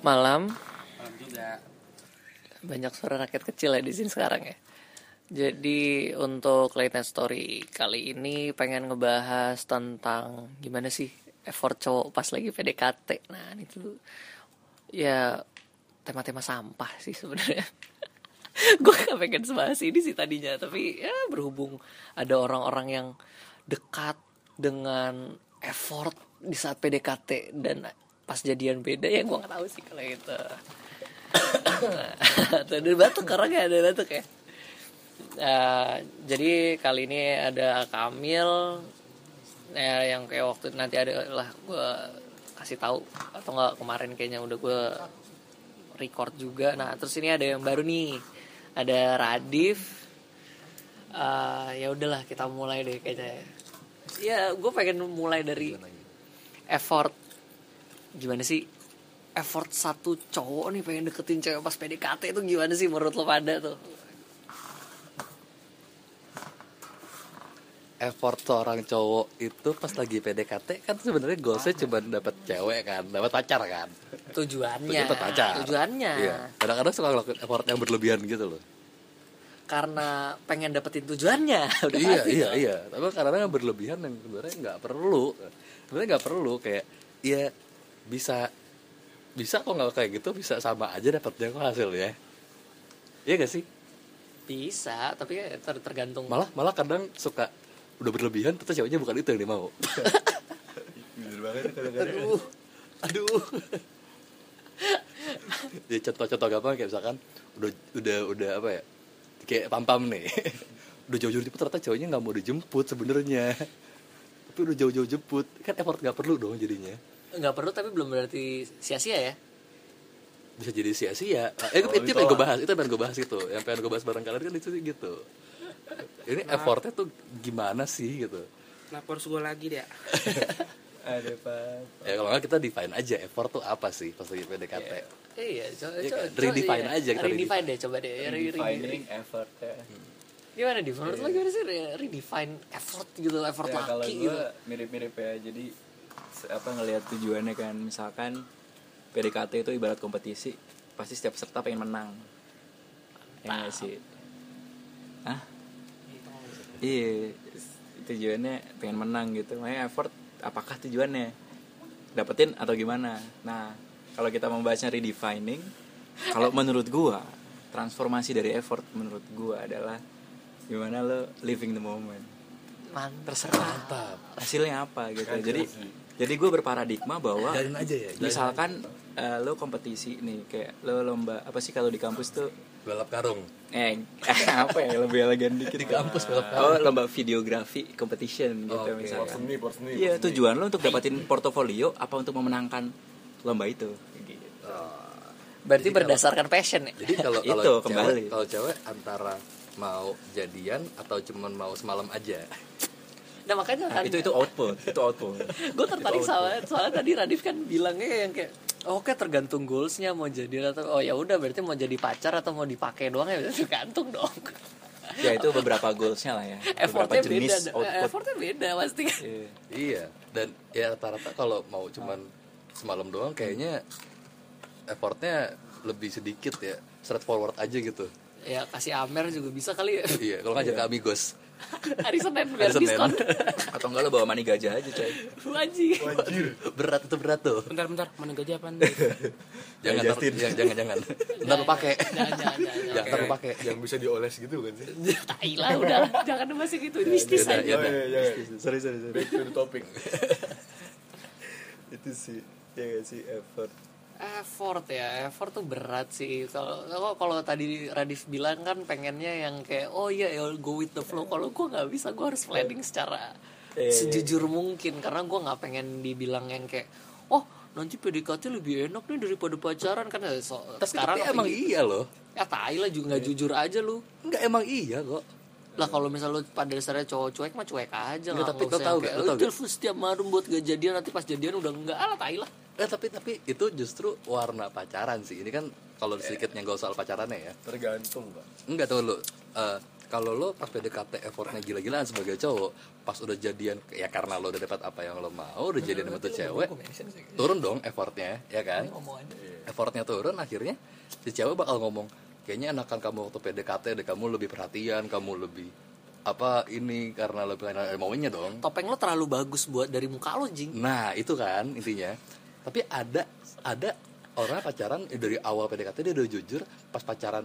malam malam juga banyak suara rakyat kecil ya di sini sekarang ya. Jadi untuk late night story kali ini pengen ngebahas tentang gimana sih effort cowok pas lagi PDKT. Nah itu ya tema-tema sampah sih sebenarnya. Gue gak pengen bahas ini sih tadinya, tapi ya berhubung ada orang-orang yang dekat dengan effort di saat PDKT dan pas jadian beda ya gue nggak tahu sih kalau gitu. itu. Tuh, ada batuk orang ya ada batuk ya Eh, jadi kali ini ada Kamil eh, yang kayak waktu nanti ada lah gue kasih tahu atau enggak kemarin kayaknya udah gue record juga nah terus ini ada yang baru nih ada Radif Eh, ya udahlah kita mulai deh kayaknya ya gue pengen mulai dari effort gimana sih effort satu cowok nih pengen deketin cewek pas PDKT itu gimana sih menurut lo pada tuh effort seorang cowok itu pas lagi PDKT kan sebenarnya goalsnya Ah. cuma dapat cewek kan dapat pacar kan tujuannya dapat pacar Iya, tujuannya iya. kadang-kadang suka ngelakuin effort yang berlebihan gitu loh karena pengen dapetin tujuannya udah iya pasti iya tuh. iya tapi kadang-kadang yang berlebihan yang sebenarnya nggak perlu sebenarnya nggak perlu kayak ya bisa bisa kok nggak kayak gitu bisa sama aja dapatnya kok hasilnya iya gak sih bisa tapi ya ter- tergantung malah malah kadang suka udah berlebihan tapi ceweknya bukan itu yang dia mau Bener banget tuh kadang-kadang. aduh aduh ya contoh-contoh gampang kayak misalkan udah udah udah apa ya kayak pam-pam nih udah jauh-jauh jemput ternyata cowoknya nggak mau dijemput sebenarnya tapi udah jauh-jauh jemput kan effort nggak perlu dong jadinya nggak perlu tapi belum berarti sia-sia ya bisa jadi sia-sia eh, Oh, itu, itu yang ditolak. gue bahas itu yang pengen gue bahas itu yang pengen gue bahas bareng kalian kan itu sih gitu ini Nah. effortnya tuh gimana sih gitu Lapor gue lagi dia. Ada pak. ya kalau nggak kita define aja effort tuh apa sih pas lagi PDKT iya coba Iya coba kan? Redefine aja, kita redefine redefine. deh coba deh Re- re- Defining effort ya. gimana di menurut Iya. lo gimana sih re- redefine effort gitu effort Ya, kalau laki gue gitu mirip-mirip ya. Jadi se- apa ngelihat tujuannya kan misalkan PDKT itu ibarat kompetisi pasti setiap peserta pengen menang. Ya nggak sih. Hah? Iya, s- tujuannya pengen menang gitu. Makanya effort apakah tujuannya? Dapetin atau gimana? Nah, kalau kita membahasnya redefining, kalau menurut gua transformasi dari effort menurut gua adalah gimana lo living the moment. mantap Terserah hasilnya apa gitu. Jadi jadi gue berparadigma bahwa Jalanin aja ya jalanin. misalkan eh, lo kompetisi nih kayak lo lomba apa sih kalau di kampus tuh balap karung Eh, apa ya lebih elegan dikit di kampus, balap oh lomba videografi competition gitu Oke. misalnya Seni, iya tujuan lo untuk dapatin portofolio apa untuk memenangkan lomba itu gitu. berarti berdasarkan passion ya Jadi kalau Itu, kalau kembali. cewek, kalau cewek antara mau jadian atau cuman mau semalam aja. nah makanya kan Nah, itu itu output itu output gue tertarik soalnya soalnya tadi Radif kan bilangnya yang kayak "Oh, oke tergantung goalsnya mau jadi atau oh ya udah berarti mau jadi pacar atau mau dipakai doang ya tergantung dong ya itu beberapa goalsnya lah ya beberapa effortnya beda jenis da- output effortnya beda pasti kan Iya. Iya. Dan ya rata-rata kalau mau cuman semalam doang kayaknya effortnya lebih sedikit ya. Straightforward aja gitu. ya kasih Amer juga bisa kali ya. Iya, kalau ngajak ke amigos. hari Senin biar Hari Senin. diskon atau enggak lo bawa mani gajah aja coy wajib berat itu berat tuh. Bentar bentar, mana gaji apaan? Jangan tar- ya, jangan jangan jangan. Entar lu pakai. jangan jangan jangan Jangan ntar lu pakai. yang bisa dioles gitu kan sih tai lah udah lah. jangan masih gitu mistis Yaudah, aja ya, yaudah. ya, sorry sorry sorry back to the topic itu sih ya gak sih effort effort ya effort tuh berat sih kalau kalau- kalau tadi Radif bilang kan pengennya yang kayak oh iya ya go with the flow kalau gue nggak bisa gue harus Iya. planning secara sejujur mungkin karena gue nggak pengen dibilang yang kayak oh nanti PDKT lebih enak nih daripada pacaran kan ya, so- Tapi, sekarang tapi emang iya loh. ya tai lah juga nggak jujur aja lu Enggak emang iya kok. lah kalau misalnya lu pada dasarnya cowok cuek mah cuek aja Nggak, lah tapi nggak lu usah tahu yang nggak, kayak, lu tahu "Lu telepon setiap malam buat gak jadian nanti pas jadian udah enggak lah tai lah Eh tapi tapi itu justru warna pacaran sih. Ini kan kalau sedikit nyenggol soal pacarannya ya. Eh. tergantung pak Enggak tahu lu. Eh, kalau lo pas PDKT effortnya gila-gilaan sebagai cowok pas udah jadian ya karena lo udah dapat apa yang lo mau udah jadian Iya, sama tuh cewek turun dong effortnya ya kan Iya. effortnya turun akhirnya si cewek bakal ngomong kayaknya enakan kamu waktu PDKT deh kamu lebih perhatian kamu lebih apa ini karena lebih karena maunya dong Topeng lo terlalu bagus buat dari muka lo jing. Nah itu kan intinya. Tapi ada ada orang pacaran eh, dari awal PDKT dia udah jujur, pas pacaran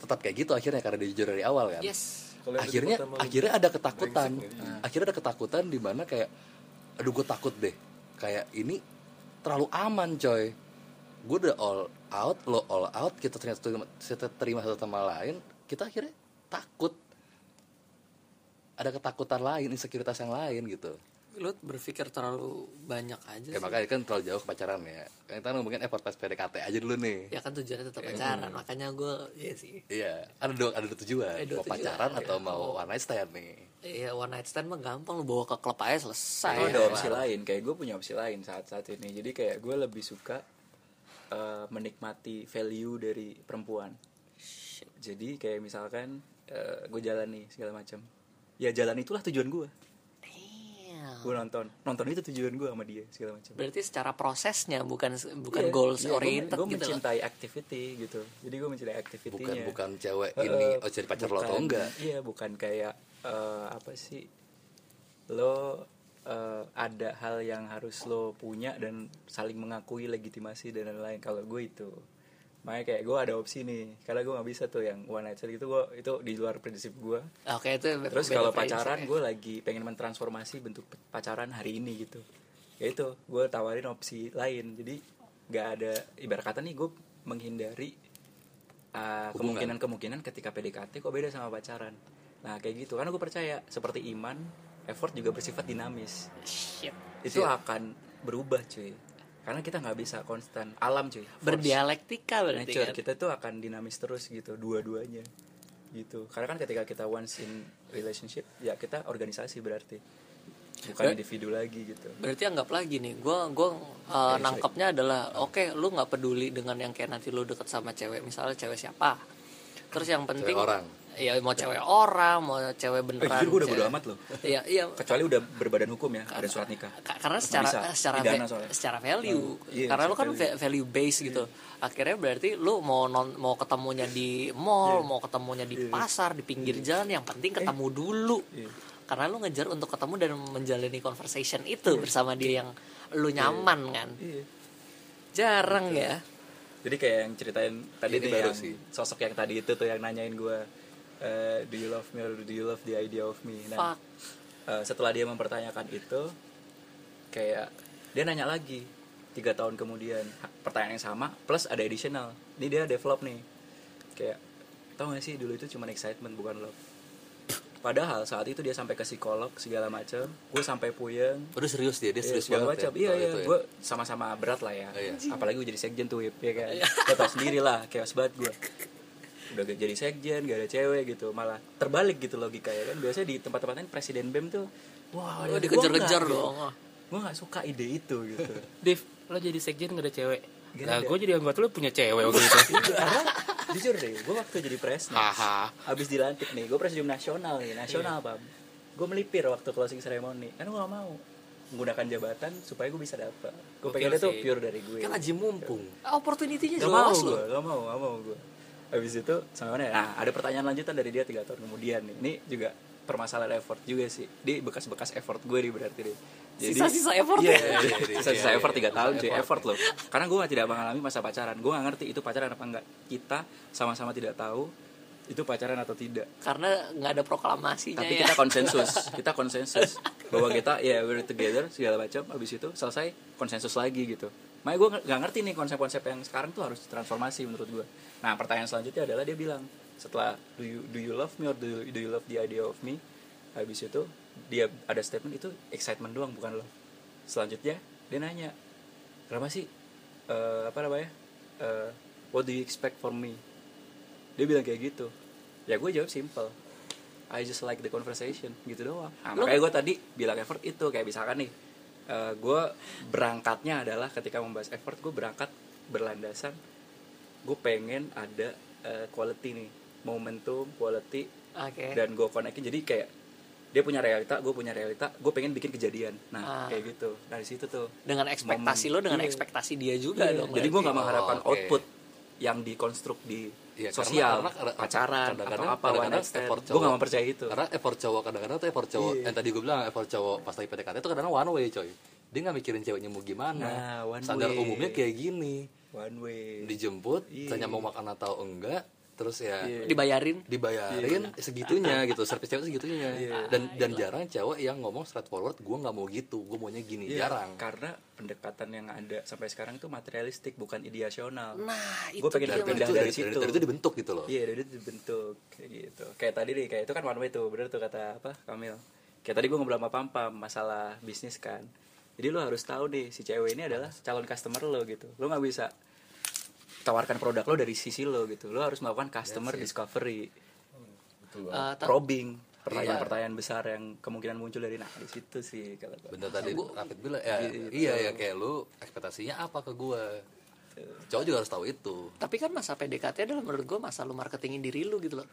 tetap kayak gitu akhirnya karena dia jujur dari awal kan. Yes. Kalau yang akhirnya disebut sama lu, akhirnya ada ketakutan, brengsek Nah, akhirnya ada ketakutan di mana kayak, aduh gue takut deh, kayak ini terlalu aman coy. Gue udah all out, lo all out, kita ternyata terima, kita terima satu sama lain, kita akhirnya takut ada ketakutan lain, insekuritas yang lain gitu. Lo berpikir terlalu banyak aja. Iya Ya sih. makanya kan terlalu jauh ke pacaran ya. Kan Kita ngomongin effort pas PDKT aja dulu nih. Ya kan tujuannya Iya. tetap pacaran. Makanya gue ya sih. Iya, ada dua ada dua tujuan, Eh, dua mau tujuan, pacaran iya. atau mau one night stand nih. Iya one night stand mah gampang lo bawa ke klub aja selesai. Kalau ada Iya. opsi lain, kayak gue punya opsi lain saat-saat ini. Jadi kayak gue lebih suka eh, menikmati value dari perempuan. Jadi kayak misalkan eh, gue jalan nih segala macam. Ya jalan itulah tujuan gue. Damn. Gue nonton, nonton itu tujuan gue sama dia segala macam. Berarti secara prosesnya bukan bukan Iya, goals oriented Gue gitu. loh. mencintai activity gitu. Jadi gue mencintai activity Bukan Kan bukan cewek Eh, ini oh jadi pacar lo atau enggak. Iya, bukan kayak eh, apa sih? Lo eh, ada hal yang harus lo punya dan saling mengakui legitimasi dan lain-lain. Kalau gue itu Makanya kayak gue ada opsi nih Karena gue gak bisa tuh yang one night stand gitu gua, Itu di luar prinsip gue Oke itu Terus beda kalau prinsip pacaran ya. gue lagi pengen mentransformasi bentuk pe- pacaran hari ini gitu Ya itu gue tawarin opsi lain Jadi gak ada ibarat kata nih gue menghindari uh, Hubungan. kemungkinan-kemungkinan ketika PDKT kok beda sama pacaran Nah kayak gitu karena gue percaya seperti iman effort juga bersifat dinamis Shit. Itu akan berubah cuy karena kita nggak bisa konstan alam cuy Force Berdialektika berarti nature kan? Nah, kita tuh akan dinamis terus gitu dua-duanya gitu karena kan ketika kita once in relationship ya kita organisasi berarti bukan Dan- individu lagi gitu Berarti anggap lagi nih, gue gua, uh, nangkepnya adalah oke lu nggak peduli dengan yang kayak nanti lu deket sama cewek misalnya cewek siapa. Terus yang penting Cewek orang. Ya mau cewek orang, mau cewek beneran. Eh, jujur gua udah cewek- bodo amat loh. Iya iya. kecuali udah berbadan hukum ya ada surat nikah Ka- karena Nggak secara eh, bisa. secara Pidana va- soalnya. secara value Hmm. Iya, karena lu secara kan value. Iya. va- value based gitu akhirnya berarti lu mau non- mau ketemunya di mall Iya. mau ketemunya di pasar di pinggir jalan yang penting Eh. ketemu dulu Iya. karena lu ngejar untuk ketemu dan menjalani conversation itu bersama dia yang lu nyaman kan Iya. jarang ya jadi kayak yang ceritain tadi Ini nih baru yang sih. sosok yang tadi itu tuh yang nanyain gue do you love me or do you love the idea of me nah fuck Eh, setelah dia mempertanyakan itu kayak dia nanya lagi tiga tahun kemudian Ha- pertanyaan yang sama plus ada additional ini dia develop nih kayak tau gak sih dulu itu cuma excitement bukan love padahal saat itu dia sampai ke psikolog segala macam gue sampai puyeng Udah serius dia, dia Iya, serius segala banget ya. macam. Iya, soal iya. itu ya. Gue sama-sama berat lah ya. Iya. Apalagi gue jadi sekjen tuh, Wip, ya kan. Gue tau sendiri lah, chaos banget gue. Udah gak jadi sekjen, gak ada cewek gitu. Malah terbalik gitu logika ya kan. Biasanya di tempat-tempat lain presiden BEM tuh, wah, Oh, dikejar-kejar dong Gue gak suka ide itu gitu. Div, lo jadi sekjen gak ada cewek. Nggak Nah, ada. gue jadi anggota lo punya cewek waktu itu. Gitu, Karena jujur deh, gue waktu jadi presnas, Haha. abis dilantik nih, gue presidium nasional nih, nasional Iya. pam. Gue melipir waktu closing ceremony, kan gue gak mau menggunakan jabatan supaya gue bisa dapat. Gue Gokil pengennya tuh sih. pure dari gue. kan aji mumpung. opportunity-nya Gak mau Iya, jelas gue, lo gak mau, gak mau gue Habis itu sama mana ya? Nah ada pertanyaan lanjutan dari dia tiga tahun kemudian nih Ini juga permasalahan effort juga sih Dia bekas-bekas effort gue nih berarti nih Sisa-sisa effort ya? Iya, iya, iya, iya, Sisa-sisa iya, effort iya, tiga sisa tahun cuy, effort. effort loh Karena gue tidak mengalami masa pacaran Gue gak ngerti itu pacaran apa enggak Kita sama-sama tidak tahu itu pacaran atau tidak karena nggak ada proklamasinya tapi ya kita konsensus kita konsensus bahwa kita ya we're together segala macam habis itu selesai konsensus lagi gitu makanya gue nggak ngerti nih konsep-konsep yang sekarang tuh harus transformasi menurut gue nah pertanyaan selanjutnya adalah dia bilang setelah do you do you love me or do you, do you love the idea of me habis itu dia ada statement itu excitement doang bukan love selanjutnya dia nanya kenapa sih eh, apa namanya eh, what do you expect from me dia bilang kayak gitu ya gue jawab simple I just like the conversation gitu doang nah, Lo- makanya gue tadi bilang effort itu kayak misalkan nih eh, gue berangkatnya adalah ketika membahas effort gue berangkat berlandasan gue pengen ada eh, quality nih momentum quality Oke. dan gue konekin jadi kayak dia punya realita gue punya realita gue pengen bikin kejadian nah Ah. kayak gitu dari situ tuh Dengan ekspektasi Momen. lo dengan Iya. ekspektasi dia juga Iya, dong. jadi gue berarti. nggak mengharapkan Oh, oke. output yang dikonstruk di Iya, karena- sosial karena- karena- pacaran kadang-kadang- atau apa kadang-kadang effort gue nggak cowok. mempercaya itu karena effort cowok kadang-kadang tuh effort cowok Iya. yang tadi gue bilang effort cowok pas lagi PDKT itu kadang-kadang one way coy dia nggak mikirin ceweknya mau gimana Nah, one standar way. umumnya kayak gini one way dijemput Iya. tanya mau makan atau enggak terus ya Iya. dibayarin dibayarin segitunya gitu servis cewek segitunya Ah, Iya. dan dan jarang cewek yang ngomong straightforward gue nggak mau gitu gue maunya gini Iya, jarang karena pendekatan yang ada sampai sekarang tuh materialistik bukan ideasional Nah, itu gue dia, pengen dari, dari, gitu, pindah itu, dari, dari, situ dari- dari itu dibentuk gitu loh Iya, udah dibentuk kayak gitu. Kayak tadi nih, kayak itu kan one way tuh, bener tuh kata apa Kamil. Kayak tadi gue ngobrol sama Pampam masalah bisnis kan. Jadi lo harus tahu nih si cewek ini adalah calon customer lo gitu. Lo nggak bisa tawarkan produk lo dari sisi lo gitu. Lo harus melakukan customer discovery, Eh, ta- probing, pertanyaan-pertanyaan besar yang kemungkinan muncul dari nah di situ sih kalau gue. bener tadi Rapid bilang ya, iya ya kayak lu ekspektasinya apa ke gue cowok juga harus tahu itu tapi kan masa PDKT adalah menurut gue masa lu marketingin diri lu gitu loh.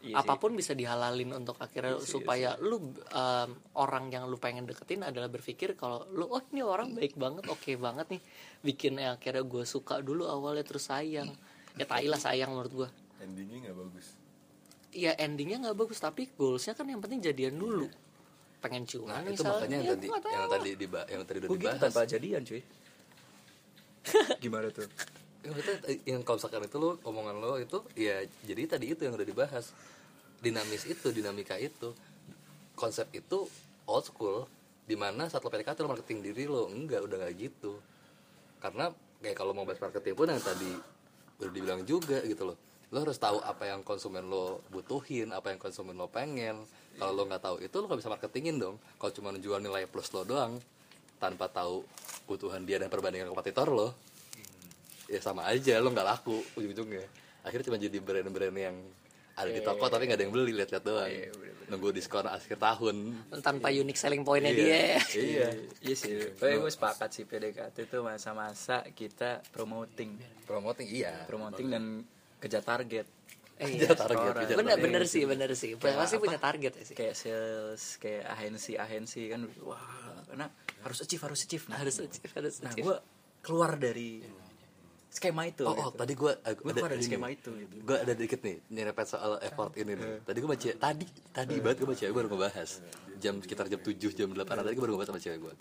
Iya sih. Iya Apapun bisa dihalalin untuk akhirnya supaya lu um, orang yang lu pengen deketin adalah berpikir kalau lu oh ini orang baik banget, oke banget nih. Bikin yang akhirnya gue suka dulu awalnya terus sayang. Ya tai lah sayang menurut gue. endingnya nggak bagus Ya endingnya nggak bagus tapi goalsnya kan yang penting jadian dulu. Pengen ciuman nah itu misalnya. makanya yang Ya, tadi gua nggak yang tahu. tadi diba- yang tadi udah Gue gitu dibahas tanpa jadian cuy. Gimana tuh? Ya, maksudnya, eh, yang kau misalkan itu lo omongan lo itu ya jadi tadi itu yang udah dibahas dinamis itu dinamika itu konsep itu old school dimana saat lo PDKT lo marketing diri lo enggak udah nggak gitu karena kayak kalau mau bahas marketing pun yang tadi udah dibilang juga gitu loh lo harus tahu apa yang konsumen lo butuhin apa yang konsumen lo pengen kalau lo nggak tahu itu lo nggak bisa marketingin dong kalau cuma jual nilai plus lo doang tanpa tahu kebutuhan dia dan perbandingan kompetitor lo ya sama aja lo nggak laku ujung-ujungnya akhirnya cuma jadi brand-brand yang ada di toko tapi nggak ada yang beli lihat-lihat doang nunggu diskon akhir tahun tanpa unique selling pointnya Eh. dia. Iya, iya sih. Tapi gue sepakat sih PDKT itu masa-masa kita promoting, promoting iya promoting dan kejar target. Eh, Kejar target, Orang. gitu. kejar bener target. bener sih bener sih pasti apa? punya target ya sih Kayak sales, kayak agensi, agensi kan, wah, karena harus achieve, harus achieve, nah, harus achieve, harus Nah, achieve. gue keluar dari skema itu. Oh, oh, gitu. tadi gue Gua keluar dari skema itu, gitu. Eh. Gue ada dikit nih nyerempet soal effort ini nih. Tadi gue baca tadi tadi banget gue baca baru ngebahas jam sekitar jam 7 jam 8 tadi gue baru ngebahas sama cewek gue.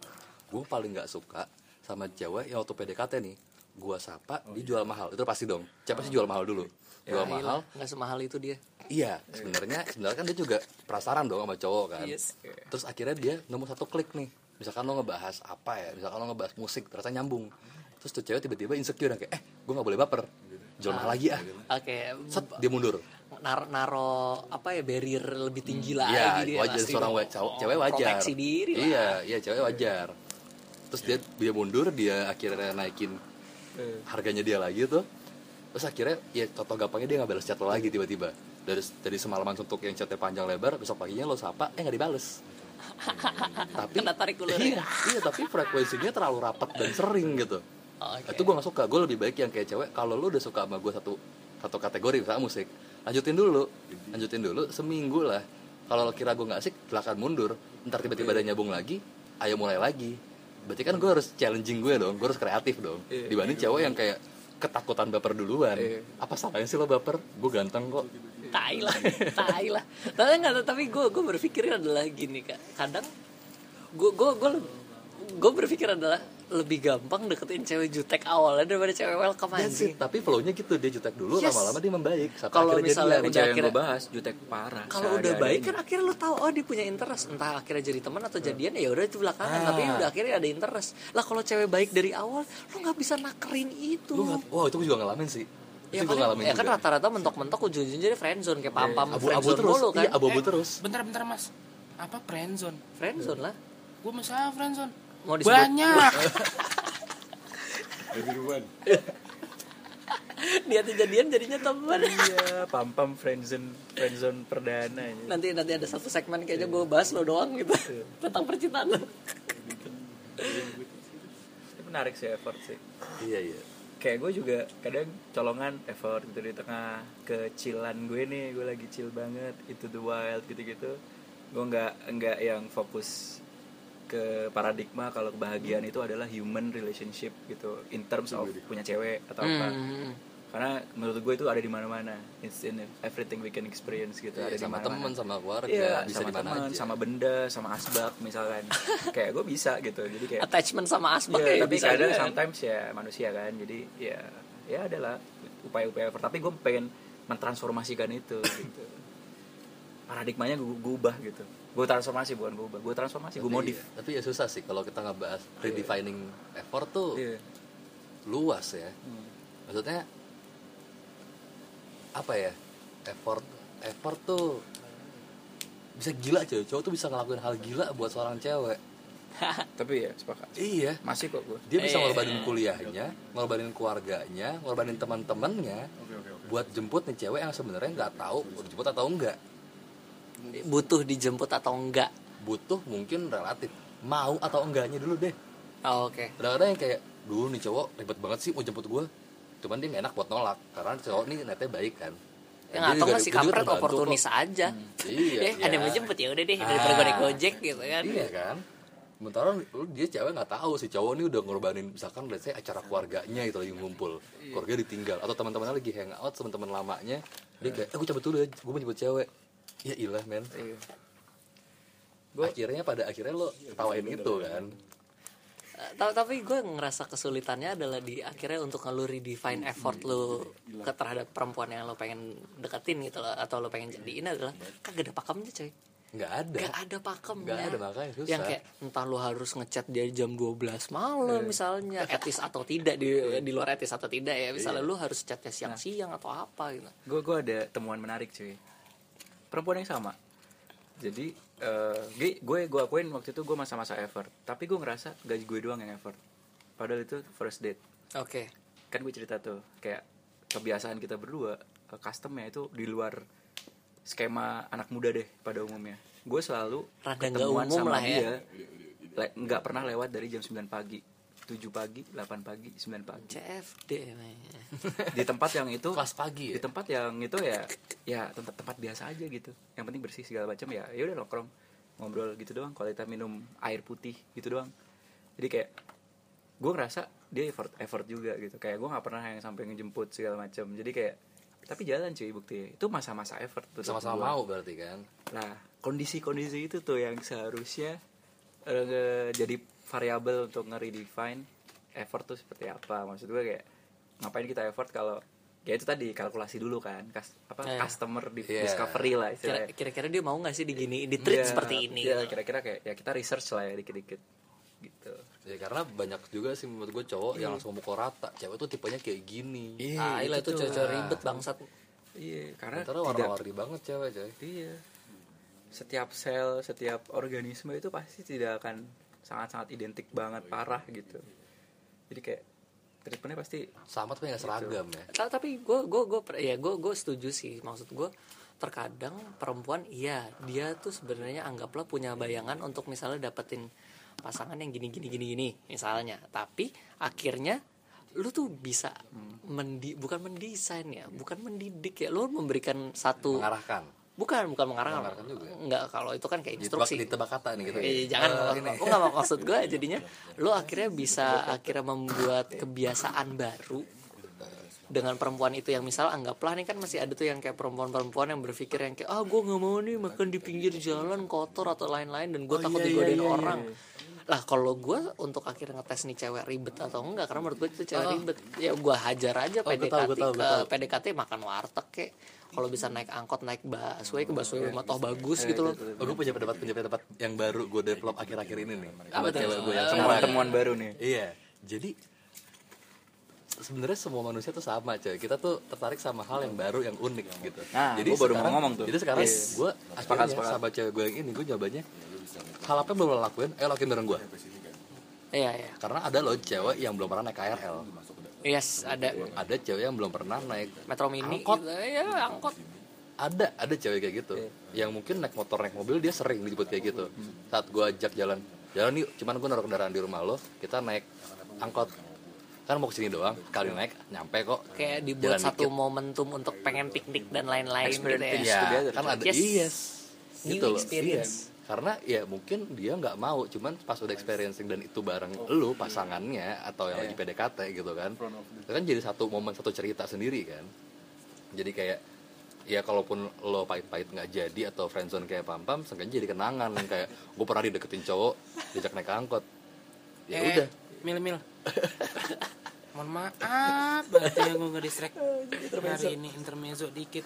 Gue paling nggak suka sama cewek yang waktu PDKT nih gue sapa dia jual mahal itu pasti dong siapa sih jual mahal dulu Ya, jual iya Gila, mahal nggak semahal itu dia Iya, sebenarnya sebenarnya kan dia juga penasaran dong sama cowok kan. Yes. Terus akhirnya dia nemu satu klik nih. Misalkan lo ngebahas apa ya? Misalkan lo ngebahas musik, ternyata nyambung. Terus tuh cewek tiba-tiba insecure yang kayak, eh gue gak boleh baper. Jual mahal lagi ah. oke Set, dia mundur. nar naro apa ya barrier lebih tinggi lagi Iya, dia wajar pasti dong. seorang Oh, wa- cowok- cewek wajar. proteksi diri lah. Iya, iya cewek wajar. Terus dia dia mundur, dia akhirnya naikin harganya dia lagi tuh. Terus akhirnya ya toto gampangnya dia nggak balas chat lo lagi tiba-tiba. Dari dari semalaman untuk yang chatnya panjang lebar, besok paginya lo sapa, eh nggak dibales. tapi kena tarik ulur iya, ya? iya, tapi frekuensinya terlalu rapat dan sering gitu. Oke. Itu gue gak suka, gue lebih baik yang kayak cewek Kalau lu udah suka sama gue satu satu kategori misalnya musik Lanjutin dulu, lanjutin dulu seminggu lah Kalau lo kira gue gak asik, silahkan mundur Ntar tiba-tiba ada nyambung lagi, ayo mulai lagi Berarti kan gue harus challenging gue dong, gue harus kreatif dong Iya, Dibanding cewek yang kayak ketakutan baper duluan Apa salahnya sih lo baper? Gue ganteng kok tai lah tai lah tapi nggak tahu, tapi gue gue berpikir adalah gini kak kadang gue gue gue gue berpikir adalah lebih gampang deketin cewek jutek awalnya daripada cewek welcome That's anjing it. Tapi flow-nya gitu, dia jutek dulu, Yes. lama-lama dia membaik Sampai Kalau akhirnya misalnya jadian. udah Yang gue akhirnya- bahas jutek parah. kalau udah seadanya. baik kan akhirnya lo tahu oh dia punya interest entah akhirnya jadi teman atau jadian ya udah itu Ah. belakangan tapi udah akhirnya ada interest lah kalau cewek baik dari awal lo nggak bisa nakerin itu Lu nggak- Wah itu gue juga ngalamin sih ya, Itu gue kan, ngalamin ya kan juga. Iya, rata-rata mentok-mentok ujung-ujung jadi friendzone kayak pam-pam Abu-abu friendzone terus, mulu kan iya abu-abu terus Bentar-bentar mas. Apa friendzone? friendzone lah Gue masalah friendzone. Mau disebut- Banyak. jadi ruan dia tuh jadian jadinya teman Iya, pam-pam friendzone, friendzone perdana. ya. nanti nanti ada satu segmen kayaknya gue Iya. bahas lo doang gitu tentang percintaan lo Tapi menarik sih effort sih. Iya iya. kayak gue juga kadang colongan effort gitu di tengah kecilan gue nih gue lagi chill banget itu the wild gitu-gitu gue nggak nggak yang fokus ke paradigma kalau kebahagiaan itu adalah human relationship gitu in terms of punya cewek atau apa Hmm. karena menurut gue itu ada di mana-mana it's in everything we can experience gitu ada di Iya, sama mana-mana. temen, sama keluarga, Iya, bisa sama di mana teman aja. sama benda sama asbak misalkan kayak gue bisa gitu jadi kayak attachment sama asbak Iya, ya, tapi bisa kadang aja. sometimes ya manusia kan jadi ya ya adalah upaya-upaya effort. tapi gue pengen mentransformasikan itu gitu paradigmanya gue gue ubah gitu gue transformasi bukan gue ubah gue transformasi gue Tapi- modif Tapi ya susah sih kalau kita ngebahas redefining effort tuh Iya. luas ya. Hmm. Maksudnya apa ya? Effort effort tuh bisa gila cewek. Cowok tuh bisa ngelakuin hal gila buat seorang cewek. tapi ya sepakat Iya. masih kok gue Dia Iya. bisa ngorbanin kuliahnya, ngorbanin keluarganya, ngorbanin teman-temannya buat jemput nih cewek yang sebenarnya nggak tahu mau dijemput atau enggak. butuh dijemput atau enggak Butuh mungkin relatif. Mau atau enggaknya dulu deh. Oh, oke kadang-kadang yang kayak dulu nih cowok ribet banget sih mau jemput gue cuman dia gak enak buat nolak karena cowok nih netnya baik kan yang atau Dia juga- Ya, nggak si dia juga kampret terbantu oportunis kok. aja iya Ah. eh ada iya. yang mau jemput ya udah deh daripada gue naik gojek gitu kan iya kan sementara lu dia cewek nggak tahu si cowok nih udah ngorbanin misalkan let's say acara keluarganya gitu lagi ngumpul Iya. keluarga ditinggal atau teman-temannya lagi hangout teman-teman lamanya Iya. dia kayak eh gue cabut dulu ya gue mau jemput cewek ya ilah men Iya. Gua- akhirnya pada akhirnya lo ketawain itu kan Eh, ta- tapi gue ngerasa kesulitannya adalah di akhirnya untuk lo redefine effort lo ke terhadap perempuan yang lo pengen deketin gitu loh, atau lo pengen jadiin adalah kagak ada pakemnya coy nggak ada Gak ada pakemnya Nggak ada, makanya susah. Yang kayak entah lo harus ngechat dia jam 12 malam Eh. misalnya Etis atau tidak di, di luar etis atau tidak ya Misalnya Iya. lo harus chatnya siang-siang Nah. atau apa gitu gue gue ada temuan menarik cuy perempuan yang sama jadi eh, gue gue gue akuin waktu itu gue masa-masa effort tapi gue ngerasa gaji gue doang yang effort padahal itu first date Oke kan gue cerita tuh kayak kebiasaan kita berdua eh, customnya itu di luar skema anak muda deh pada umumnya gue selalu Rada nggak umum lah ya. le- nggak pernah lewat dari jam 9 pagi 7 pagi 8 pagi 9 pagi CFD namanya. di tempat yang itu kelas pagi di ya tempat yang itu ya ya tempat tempat biasa aja gitu yang penting bersih segala macam ya ya udah nongkrong ngobrol gitu doang kalau kita minum air putih gitu doang jadi kayak gue ngerasa dia effort effort juga gitu kayak gue nggak pernah yang sampai ngejemput segala macam jadi kayak tapi jalan cuy bukti itu masa-masa effort menurut sama-sama gua. mau berarti kan nah kondisi-kondisi itu tuh yang seharusnya eh, jadi variabel untuk nge-redefine effort tuh seperti apa maksud gue kayak ngapain kita effort kalau ya itu tadi kalkulasi dulu kan kas, apa Iya. customer di- Iya. discovery lah Kira- istilahnya Kira-kira dia mau gak sih digini di treat Iya, seperti ini gitu? iya, kira-kira kayak ya kita research lah ya dikit-dikit gitu Ya karena banyak juga sih menurut gue cowok yang langsung mukul rata. Cewek tuh tipenya kayak gini. Ah, Nah, ilah Iya. itu cowok ribet bangsat. iya karena Sementara tidak warna-warni banget cewek coy. Iya. Setiap sel, setiap organisme itu pasti tidak akan sangat-sangat identik banget parah gitu. Jadi kayak treatmentnya pasti Sama Gitu. tapi gak seragam ya. Ta- Tapi gue gue gue ya gue gue setuju sih maksud gue terkadang perempuan iya dia tuh sebenarnya anggaplah punya bayangan untuk misalnya dapetin pasangan yang gini gini gini gini misalnya tapi akhirnya lu tuh bisa mendi bukan mendesain ya bukan mendidik ya lu memberikan satu Mengarahkan. bukan bukan mengarahkan, Mengarahkan juga. nggak kalau itu kan kayak Ditebak, instruksi ditebak kata nih gitu. Eh, jangan nggak maksud- gua nggak mau maksud gue jadinya lo akhirnya bisa akhirnya membuat kebiasaan baru dengan perempuan itu yang misal anggaplah nih kan masih ada tuh yang kayak perempuan-perempuan yang berpikir yang kayak ah gue nggak mau nih makan di pinggir jalan kotor atau lain-lain dan gue takut digodain orang lah kalau gue untuk akhirnya ngetes nih cewek ribet atau enggak karena menurut gue itu cewek ribet ya gue hajar aja Oh, gua PDKT tahu, gua tahu, gua ke- tahu. PDKT makan warteg kek kalau bisa naik angkot naik busway ke busway rumah toh bagus gitu loh Oh, gue punya pendapat punya pendapat yang baru gue develop akhir-akhir ini nih. Iya, gitu. Apa Buat tuh? Eh, cewek gue yang Eh, seragam. temuan-temuan baru nih. Iya. Jadi sebenarnya semua manusia tuh sama coy. Kita tuh tertarik sama hal yang baru yang unik gitu. Nah, gua baru mau ngomong tuh. Jadi sekarang Yes. gue Sepakat, akhirnya sepakat. sama cewek gue yang ini gue jawabannya hal apa yang belum lo lakuin? Ayo lakuin bareng gue. iya iya Karena ada loh cewek yang belum pernah naik KRL. Yes, ada Ada cewek yang belum pernah naik Metro Mini Angkot. gitu. Ya, angkot. ada ada cewek kayak gitu yang mungkin naik motor naik mobil dia sering disebut kayak gitu saat gue ajak jalan jalan yuk cuman gue naruh kendaraan di rumah lo kita naik angkot kan mau kesini doang kali naik nyampe kok kayak dibuat Jalan satu dikit. momentum untuk pengen piknik dan lain-lain gitu ya. Experience. Iya, Itu dia, kan ada Yes. yes. New Gitu loh. experience. Iya. Karena ya mungkin dia nggak mau, cuman pas udah experiencing dan itu bareng lu pasangannya atau yang Iya. lagi PDKT gitu kan. Itu kan jadi satu momen satu cerita sendiri kan. Jadi kayak ya kalaupun lo pahit-pahit nggak jadi atau friendzone kayak pam-pam, seenggaknya jadi kenangan yang kayak gue pernah dideketin cowok diajak naik angkot. Ya Eh, udah. Mil mil. Mohon maaf banget ya gue nggak distract hari ini intermezzo dikit.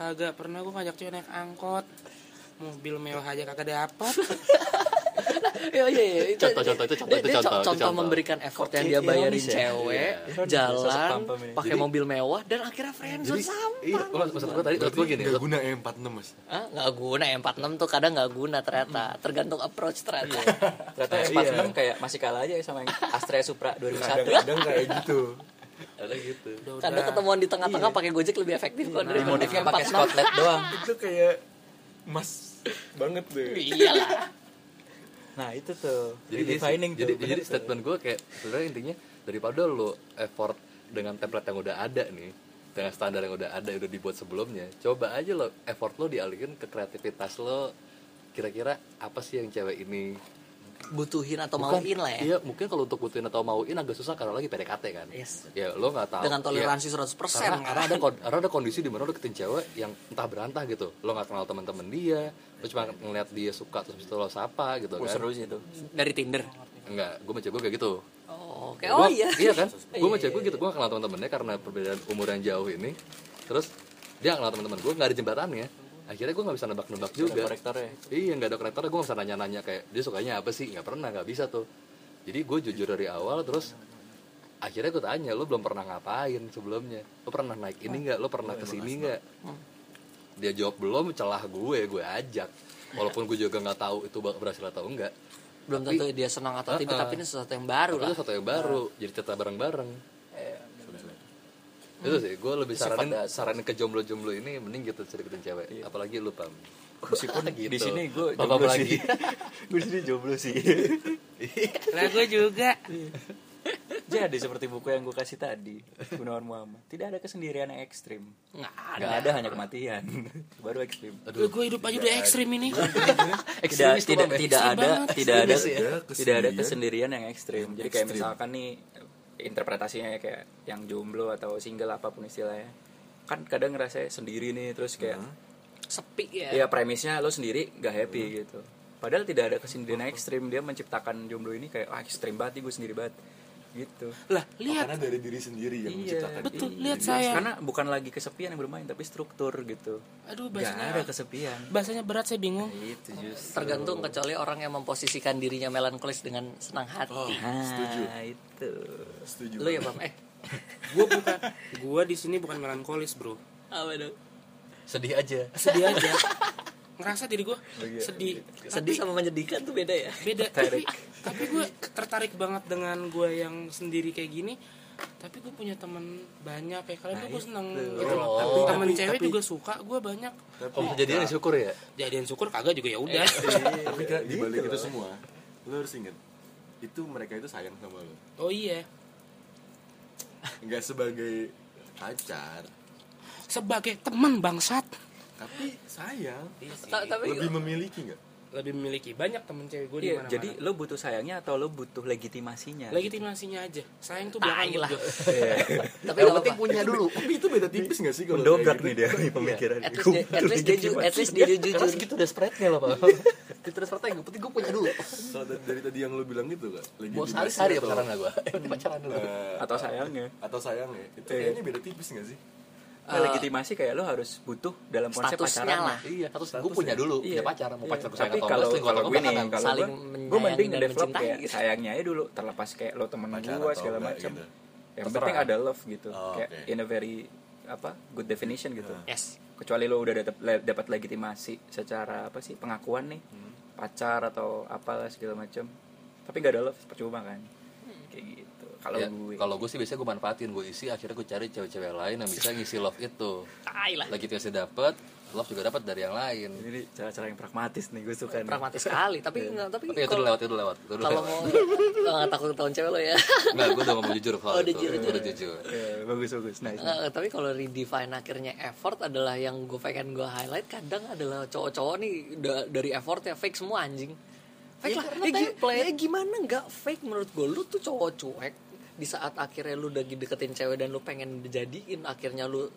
Kagak pernah gue ngajak cewek naik angkot. Mobil mewah aja kagak dapet. Iya iya iya. Itu- Contoh, contoh, itu contoh, dia- itu dia co- contoh, itu contoh contoh. memberikan effort yang Kok dia ironis bayarin ya? cewek, Iya. Sosok jalan, pampam ya. pakai mobil mewah dan akhirnya friendzone sama. Iya, maksud maksud gue tadi maksud gue gini. Gak guna E46 mas Ah, nggak guna ya, 46 tuh kadang nggak guna Hmm. ternyata, tergantung approach ternyata. Iya. Ternyata S46 kayak masih kalah aja sama yang Astrea Supra 2001 Kadang-kadang kayak gitu Ada gitu. Kadang ketemuan di tengah-tengah Iya. pakai Gojek lebih efektif Nah, kok dari Modifnya pakai spotlight doang Itu kayak Mas banget deh Iya lah. Nah itu tuh jadi dia- redefining tuh, jadi, bener jadi tuh. statement gue kayak sebenarnya intinya daripada lo effort dengan template yang udah ada nih dengan standar yang udah ada yang udah dibuat sebelumnya coba aja lo effort lo dialihin ke kreativitas lo kira-kira apa sih yang cewek ini Butuhin atau Bukan, mauin lah ya. iya mungkin kalau untuk butuhin atau mauin agak susah karena lagi PDKT kan Yes. ya lo nggak tahu Dengan Iya. toleransi 100% karena, kan. karena ada kon- karena ada kondisi di mana lo deketin cewek yang entah berantah gitu lo nggak kenal teman-teman dia lo cuma ngeliat dia suka terus habis itu lo sapa gitu Wah, kan seru sih itu Dari Tinder. enggak gue mencoba kayak gitu Oh, oke. Oh Gua- iya. kan gue sama cewek gue gitu gue gak kenal teman-temannya karena perbedaan umur yang jauh ini terus dia gak kenal teman-teman gue nggak ada jembatannya akhirnya gue nggak bisa nebak-nebak juga korektornya. iya nggak ada korektornya gue nggak bisa nanya-nanya kayak dia sukanya apa sih nggak pernah nggak bisa tuh jadi gue jujur dari awal terus akhirnya gue tanya lo belum pernah ngapain sebelumnya lo pernah naik ini nggak lo pernah kesini nggak dia jawab belum celah gue gue ajak walaupun gue juga nggak tahu itu berhasil atau enggak Belum tentu dia senang atau tidak, Uh-uh. tapi ini sesuatu yang baru itu lah. satu yang baru jadi cerita bareng-bareng itu sih gue lebih saranin saranin ke jomblo-jomblo ini mending gitu cerita cewek apalagi lu pam meskipun Di sini gue apa jomblo lagi sih Gue di sini jomblo sih Lah gue juga. Jadi seperti buku yang gue kasih tadi Gunawan Muhammad Tidak ada kesendirian yang ekstrim Nggak Gak ada. ada hanya kematian Baru ekstrim Aduh, gue hidup aja udah ekstrim ini. tidak Ekstremis tuh, tidak Bang, ya? tidak ada banget, tidak ada ekstremis ya. tidak ada Kesendirian. kesendirian yang ekstrim jadi kayak Ekstrim. misalkan nih interpretasinya kayak yang jomblo atau single apapun istilahnya kan kadang ngerasa sendiri nih terus kayak Sepi ya. ya premisnya lo sendiri gak happy gitu padahal tidak ada kesendirian yang ekstrim dia menciptakan jomblo ini kayak ah ekstrim banget nih, gue sendiri banget gitu Lah Oh, lihat Karena dari diri sendiri yang menciptakan betul, Iya. lihat saya. karena bukan lagi kesepian yang bermain tapi struktur gitu Aduh gak ada bahasanya kesepian bahasanya berat saya bingung. itu justru Tergantung kecuali orang yang memposisikan dirinya melankolis dengan senang hati. Oh. nah itu Setuju Lu ya, Bang? Eh, Gue bukan. Gue di sini bukan melankolis bro. apa dong? sedih aja Sedih aja. Ngerasa diri gue Oh iya, sedih. Sedih sama menyedihkan tuh beda ya. beda tapi tapi gue tertarik banget dengan gue yang sendiri kayak gini tapi gue punya teman banyak ya karena gue seneng gitu loh teman cewek juga suka gue banyak oh Iya. kejadian syukur ya jadian syukur kagak juga ya udah Tapi kan dibalik itu semua Lo harus inget Itu mereka itu sayang sama lo oh iya Nggak sebagai pacar sebagai teman bangsat Tapi sayang Iya Ta- Tapi Lebih memiliki nggak? lebih memiliki banyak teman cewek gue di Iya, mana jadi lo butuh sayangnya atau lo butuh legitimasinya? legitimasinya aja sayang tuh Tai belakang lah. gue tapi Iya. yang nggak penting apa-apa. punya dulu Tapi itu beda tipis nggak sih kalau Mendobrak kayak gitu. nih dia nih pemikiran. At least, dia, at least dia ju- at least dia karena jujur. segitu udah spreadnya loh pak itu udah spreadnya yang penting gue punya dulu gitu? Soal dari, dari tadi yang lo bilang gitu kan mau sehari-hari ya pacaran lah gue pacaran dulu atau sayangnya? Eh, Atau sayang ya Itu kayaknya beda tipis nggak sih? Nah, legitimasi kayak lo harus butuh dalam konsep Eh, Statusnya pacaran. lah. iya terus gue punya dulu Iya. punya pacar mau pacar gue Tapi sayang atau kalau enggak selingkuh kalau atau gue nih, enggak kan kalau Saling gue, gue menyayangi mending dan develop mencintai kayak gitu. sayangnya aja dulu, terlepas kayak lo temen Pacaran gue atau segala enggak macam. gitu. Yang penting ada love gitu, Oh, kayak oke. in a very apa good definition gitu. Yes. Kecuali lo udah dap- le- dapat legitimasi secara apa sih pengakuan nih, pacar atau apalah segala macam. Tapi gak ada love percuma kan? Hmm. Kayak gitu. Kalau Ya, gue kalau gue sih biasanya gue manfaatin gue isi akhirnya gue cari cewek-cewek lain yang bisa ngisi love itu Tai lah. lagi tidak dapet love juga dapat dari yang lain Ini nih cara-cara yang pragmatis nih gue suka nih. pragmatis sekali tapi nggak tapi, tapi ya, itu kalau- udah lewat itu udah lewat itu udah kalau lewat mau Lo nggak takut ketahuan cewek lo ya nggak gue udah ngomong jujur Oh, soal itu udah jujur, Gua udah jujur Iya, bagus bagus. Nice. Nggak, tapi kalau redefine akhirnya effort adalah yang gue pengen gue highlight kadang adalah cowok-cowok nih da- dari effortnya fake semua anjing fake lah ya, gi- ya gimana nggak fake menurut gue lu tuh cowok cuek di saat akhirnya lu udah deketin cewek dan lu pengen dijadiin akhirnya lu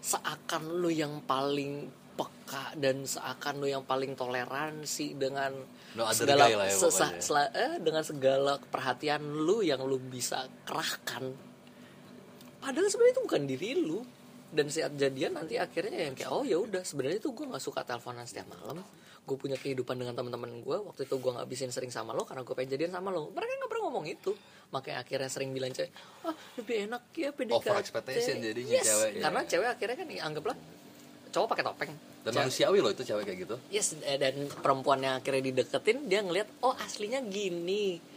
seakan lu yang paling peka dan seakan lu yang paling toleransi dengan No other segala guy lah ya sesa- pokoknya. sela- eh, dengan segala perhatian lu yang lu bisa kerahkan padahal sebenarnya itu bukan diri lu dan saat jadian nanti akhirnya yang kayak oh ya udah sebenarnya tuh gue nggak suka teleponan setiap malam gue punya kehidupan dengan teman-teman gue waktu itu gue ngabisin sering sama lo karena gue pengen jadian sama lo mereka nggak pernah ngomong itu makanya akhirnya sering bilang cewek ah lebih enak ya PDKT Over expectation jadinya Yes, ceweknya. karena cewek akhirnya kan anggaplah cowok pakai topeng dan Cewek- manusiawi loh itu cewek kayak gitu Yes, eh, dan perempuan yang akhirnya dideketin dia ngelihat oh aslinya gini.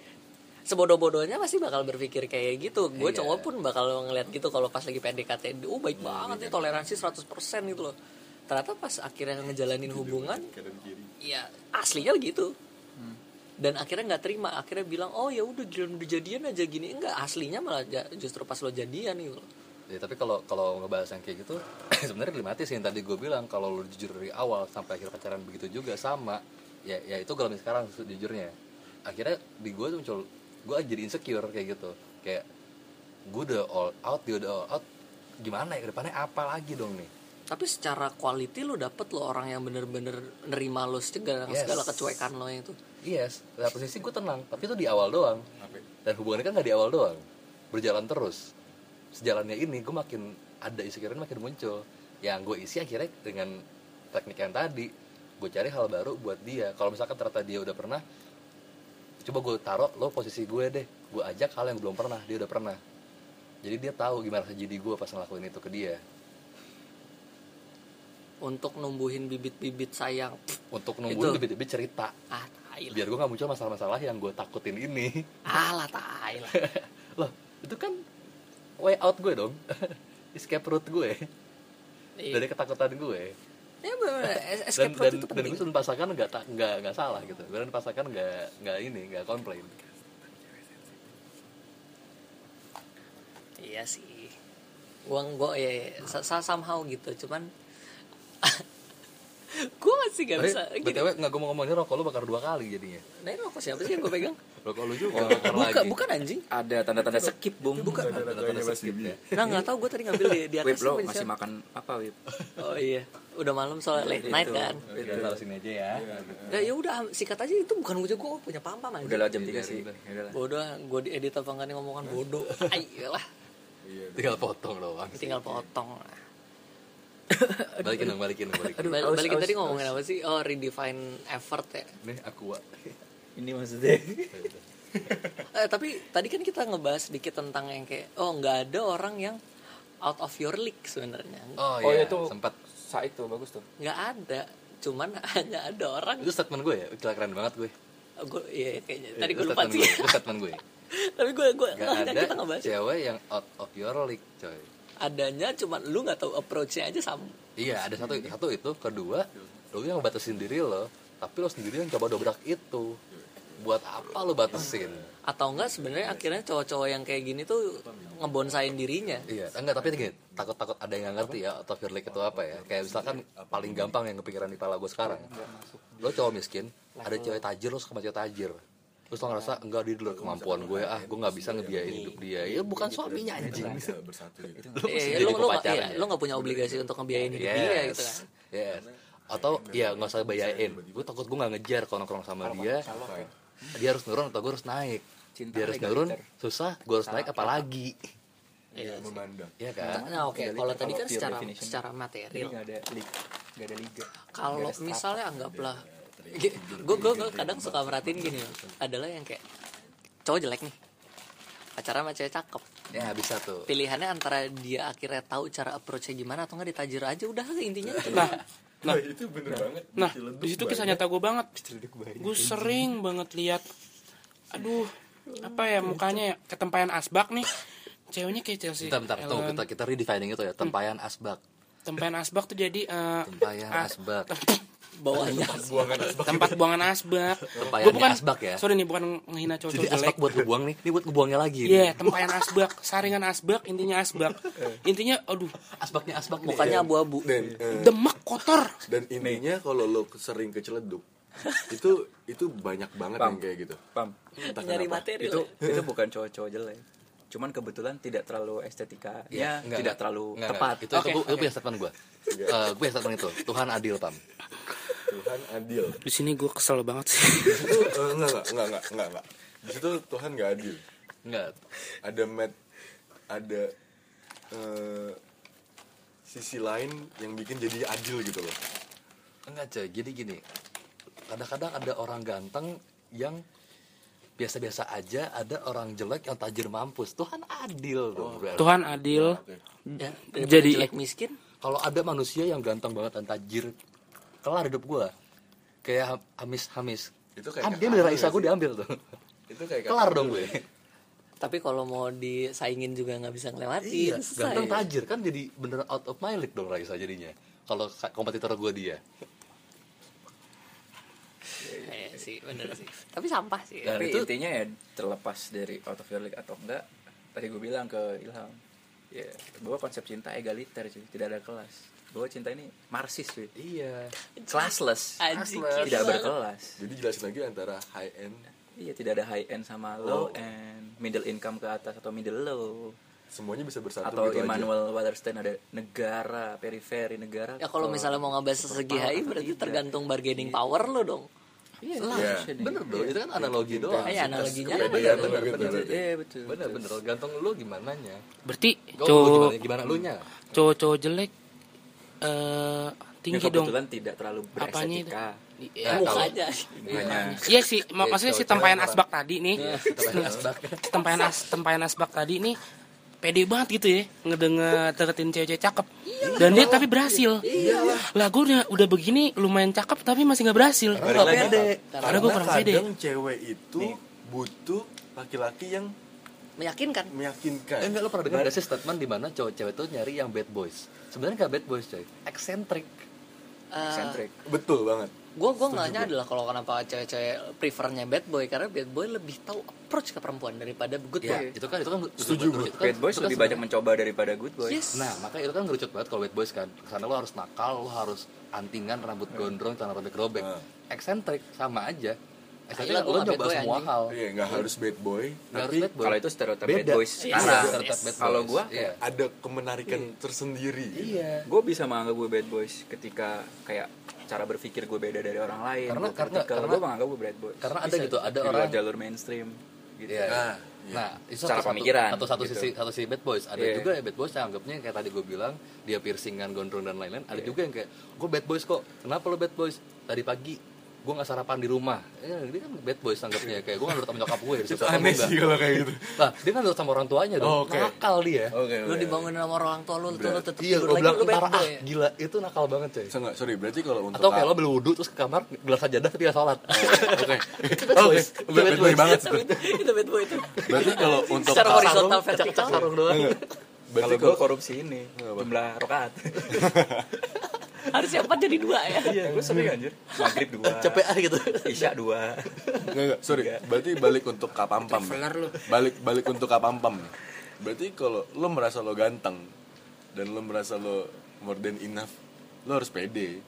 Sebodoh-bodohnya pasti bakal berpikir kayak gitu. Gue Iya. cowok pun bakal ngelihat gitu kalau pas lagi PDKT. Oh baik Nah, banget nih toleransi 100% gitu loh. Ternyata pas akhirnya ngejalanin hubungan, kanan kiri ya aslinya gitu. Hmm. Dan akhirnya nggak terima, akhirnya bilang oh ya udah jadian udah jadian aja gini. Enggak, aslinya malah ja- justru pas lo jadian gitu loh. ya, tapi kalau kalau ngebahas yang kayak gitu sebenarnya dilematis yang tadi gue bilang kalau lu jujur dari awal sampai akhir pacaran begitu juga sama ya ya itu kalau sekarang jujurnya akhirnya di gue tuh muncul gue jadi insecure kayak gitu kayak gue udah all out dia udah all out gimana ya kedepannya apa lagi dong nih Tapi secara quality lo dapet lo orang yang bener-bener nerima lo segala, Yes. segala kecuekan lo itu. Yes, di satu sisi gue tenang, tapi itu di awal doang. Dan hubungannya kan gak di awal doang, berjalan terus. Sejalannya ini gue makin ada insecure makin muncul. Yang gue isi akhirnya dengan teknik yang tadi, gue cari hal baru buat dia. Kalau misalkan ternyata dia udah pernah, coba gue taruh lo posisi gue deh. Gue ajak hal yang belum pernah, dia udah pernah. Jadi dia tahu gimana rasanya jadi gue pas ngelakuin itu ke dia. untuk numbuhin bibit-bibit sayang Pff, Untuk nungguin Itu. bibit-bibit cerita. ah tai lah Biar gue gak muncul masalah-masalah yang gue takutin ini. alah tai lah loh itu kan way out gue dong escape route gue dari ketakutan gue Iya. ya bener es- escape dan dan, route itu dan penting gue sudah pasangan nggak ta- nggak nggak salah gitu gue dan pasangan nggak nggak ini nggak komplain iya sih gua gua ya, ya, sa- sa- somehow gitu cuman gua masih gak tapi bisa gini btw nggak gue mau ngomongin rokok lu bakar dua kali jadinya nah ini rokok siapa sih yang gua pegang rokok lu juga bakar bukan lagi bukan anjing Ada tanda-tanda skip, Bung. Bukan. ada tanda skip ya nah nggak tahu gua tadi ngambil di, di Wip atas lo apa di masih siapa. makan apa, Wip? oh iya udah malam soalnya Iya, late night kan Udah taruh sini aja iya, ya ya ya udah sikat aja itu bukan gue gue punya pam pam Udah aja lah jam 3 sih. Ya udah lah. bodoh gue di edit apa enggak nih ngomongan bodoh ayolah iya tinggal potong doang tinggal potong lah balikin dong balikin dong balikin Bal- aus, balikin aus, tadi ngomongin apa sih? Oh, redefine effort ya. ini aku Ini maksudnya. Eh, tapi tadi kan kita ngebahas sedikit tentang yang kayak oh nggak ada orang yang out of your league sebenarnya. oh, Oh, iya itu. sempat Sa itu bagus tuh. Nggak ada. Cuman hanya ada orang. itu statement gue ya gila keren banget gue Oh, Gue iya kayaknya. Tadi Itu gue lupa sih. statement gue, itu statement gue tapi gue gue Gak ada Oh, Iya. kita ngebahas. cewek yang out of your league coy Adanya cuman lu nggak tahu approach-nya aja sama. Iya ada satu satu itu kedua lu yang batasin diri lo tapi lo sendiri yang coba dobrak itu buat apa lo batasin Atau enggak sebenarnya akhirnya cowok-cowok yang kayak gini tuh ngebonsain dirinya. iya enggak tapi gini takut takut ada yang nggak ngerti ya atau your league itu apa ya kayak misalkan paling gampang yang kepikiran di kepala gue sekarang lo cowok miskin ada cewek tajir lo suka sama cewek tajir terus lo ngerasa enggak di dulu kemampuan gue ah gue nggak bisa ngebiayain hidup dia ya bukan suaminya anjing bisa bersatu gitu Eh, sendiri lu lu nggak- pacarnya. iya, lu nggak punya obligasi untuk ngebiayain hidup dia gitu kan. Iya, Yes. Atau ya nggak usah bayain. Gue takut gue nggak ngejar kalau nongkrong sama dia. Dia harus nurun atau gue harus naik. Cinta dia harus nurun, egaliter. susah, gue harus naik apalagi. ya memandang Iya kan? Nah, oke, Kembali kalau ke tadi kalau kan pure secara definition. secara Ini material. enggak ada liga. Enggak ada liga. Kalau misalnya anggaplah gue gue kadang suka merhatiin gini adalah yang kayak cowok jelek nih pacaran sama cewek cakep Ya bisa tuh. pilihannya antara dia akhirnya tahu cara approach-nya gimana atau nggak ditajir aja udah intinya itu. Nah, nah itu bener banget nah di situ kisah nyata gue banget. Gue sering banget lihat, aduh, apa ya mukanya ya ketempayan asbak nih. Ceweknya kayak Chelsea. Iya, Bentar, bentar. Tunggu, Ellen. kita, kita redefining itu ya. Tempayan asbak. tempayan asbak tuh jadi eh, Tempayan ah, asbak. tem- bawahnya buangan asbak tempat buangan asbak Tempayannya Gua bukan asbak ya? sorry nih bukan menghina Jadi cowok asbak jelek buat ngebuang nih, ini buat ngebuangnya lagi. nih. Iya, tempayan asbak, saringan asbak, intinya asbak. Intinya, aduh, Asbaknya asbak Iya. nih. mukanya abu-abu dan Iya. eh, demak kotor. dan intinya kalau lo sering keceleduk itu itu banyak banget Pam. yang kayak gitu pam Entah nyari ya. kenapa. materi itu loh. itu bukan cowok-cowok jelek cuman kebetulan tidak terlalu estetika ya tidak Enggak, enggak. terlalu Enggak, tepat enggak. Itu, itu, itu punya statement gue. Eh, gue punya statement itu. Tuhan adil, Pam. Tuhan adil Di sini gue kesel banget sih. Di situ, eh, enggak enggak enggak enggak enggak enggak di situ Tuhan nggak adil Enggak. ada met ada eh, sisi lain yang bikin jadi adil gitu loh Enggak, coy. Jadi gini. Kadang-kadang ada orang ganteng yang biasa-biasa aja, ada orang jelek yang tajir mampus. Tuhan adil dong. berarti. Tuhan adil. Ya, Jadi- eh, jadi jelek miskin Kalau ada manusia yang ganteng banget dan tajir, kelar hidup gue. Kayak ha- hamis-hamis. Kan Itu kayak Ambil kakak dari lu Raisa nggak gue diambil tuh. itu kayak Kelar dong gue. tapi kalau mau disaingin juga nggak bisa Iya, ngelewatin ganteng Say. tajir kan jadi bener out of my league dong Raisa jadinya. Kalau ka- kompetitor gue dia. Iya sih bener sih tapi sampah sih tapi itu- intinya ya terlepas dari out of your league atau enggak tadi gue bilang ke Ilham ya bahwa konsep cinta egaliter cuy tidak ada kelas bahwa cinta ini marsis cuy Iya. classless Anjing, tidak gila. berkelas jadi jelasin lagi antara high end iya tidak ada high end sama low end middle income ke atas atau middle low semuanya bisa bersatu atau gitu aja Immanuel Wallerstein ada negara periferi negara ya kalau misalnya mau ngebahas segi kepala HI atau berarti tidak. tergantung bargaining power lu dong iya Iya. harusnya deh. Bener dong, itu kan analogi doang. Kayak analoginya kan? Kepedean bener lu bener gitu bener berarti. iya betul Bener bener gantung lu gimana nya? Berarti Lu cowok gimana gimana lu nya? cowok jelek eh tinggi Nggak, Ya, dong. kebetulan tidak terlalu Apanya itu? berestetika Ya, mukanya Nah, Iya sih, mak- Iya, maksudnya si cowok tempayan jelek asbak tadi nih, tempayan as tempayan asbak tadi nih pede banget gitu ya ngedenger deketin cewek-cewek cakep dan dia tapi berhasil lah gue udah, udah begini lumayan cakep tapi masih nggak berhasil Balik Nggak lagi. pede. karena Karena gua kurang pede. kadang cewek itu butuh laki-laki yang meyakinkan meyakinkan Eh, enggak lu pernah dengar nggak sih statement di mana cowok cewek tuh nyari yang bad boys. Sebenarnya nggak bad boys coy, eksentrik. Eh, sentrik betul banget gue gue nanya adalah kalau kenapa cewek-cewek prefernya bad boy karena bad boy lebih tahu approach ke perempuan daripada good boy Iya, itu kan itu kan Setuju itu gua. kan- Bad Boys itu kan lebih banyak mencoba daripada Good Boys yes Nah, makanya itu kan ngerucut banget kalau bad boys kan. Karena lo harus nakal, lo harus antingan, rambut Iya. gondrong, celana robek robek. Hmm. Eksentrik sama aja. Eksentrik Ayolah, gua lo nggak nyoba bad boy, semua anjing. hal. iya nggak harus bad boy Nggak harus tapi bad boy. kalau itu stereotip Beda. bad boys Yes. Ada anak stereotip bad boys. Kalau gua, iya. ada kemenarikan tersendiri Iya. gue bisa menganggap gue bad boys ketika kayak cara berpikir gue beda dari orang lain Karena- Gua karena- kritikal, karena- gue menganggap gue bad boys Karena ada Bisa gitu, ada di luar orang jalur mainstream gitu Iya. Nah, Nah, itu Secara satu- satu- pemikiran, Atau satu gitu. sisi satu sisi bad boys. Ada Iya. juga ya bad boys yang anggapnya kayak tadi gue bilang dia piercingan, gondrong dan lain-lain. Ada juga yang kayak gue bad boys kok. Kenapa lo bad boys? Tadi pagi gue nggak sarapan di rumah. Eh, dia kan bad boys anggapnya kayak gue nggak nurut sama nyokap ya, gue. Itu aneh sih kalau kayak gitu Nah, dia kan nurut sama orang tuanya dong. Oh, oke. Nakal dia. oke lu dibangunin sama orang tua lu tuh lu tetep tidur Iya, gue lagi bilang lu bad ntar ah, boy gila itu nakal banget coy. So, enggak, sorry berarti kalau untuk Atau kayak lo beli wudhu terus ke kamar gelas sajadah tapi gak sholat. oke Itu bad oke boys. Itu bad boy banget Itu bad- itu bad boy itu berarti kalau untuk secara horizontal Sarung, vertikal cak-cak sarung doang. berarti kalau kalau gue korupsi ini jumlah rokaat harusnya empat jadi dua ya iya gue sering anjir maghrib dua Capek ah gitu. isya dua Enggak, enggak, sorry. Berarti balik untuk kapampam. Traveler lu. Balik balik untuk kapampam. Berarti kalau lo merasa lo ganteng dan lo merasa lo more than enough, lo harus pede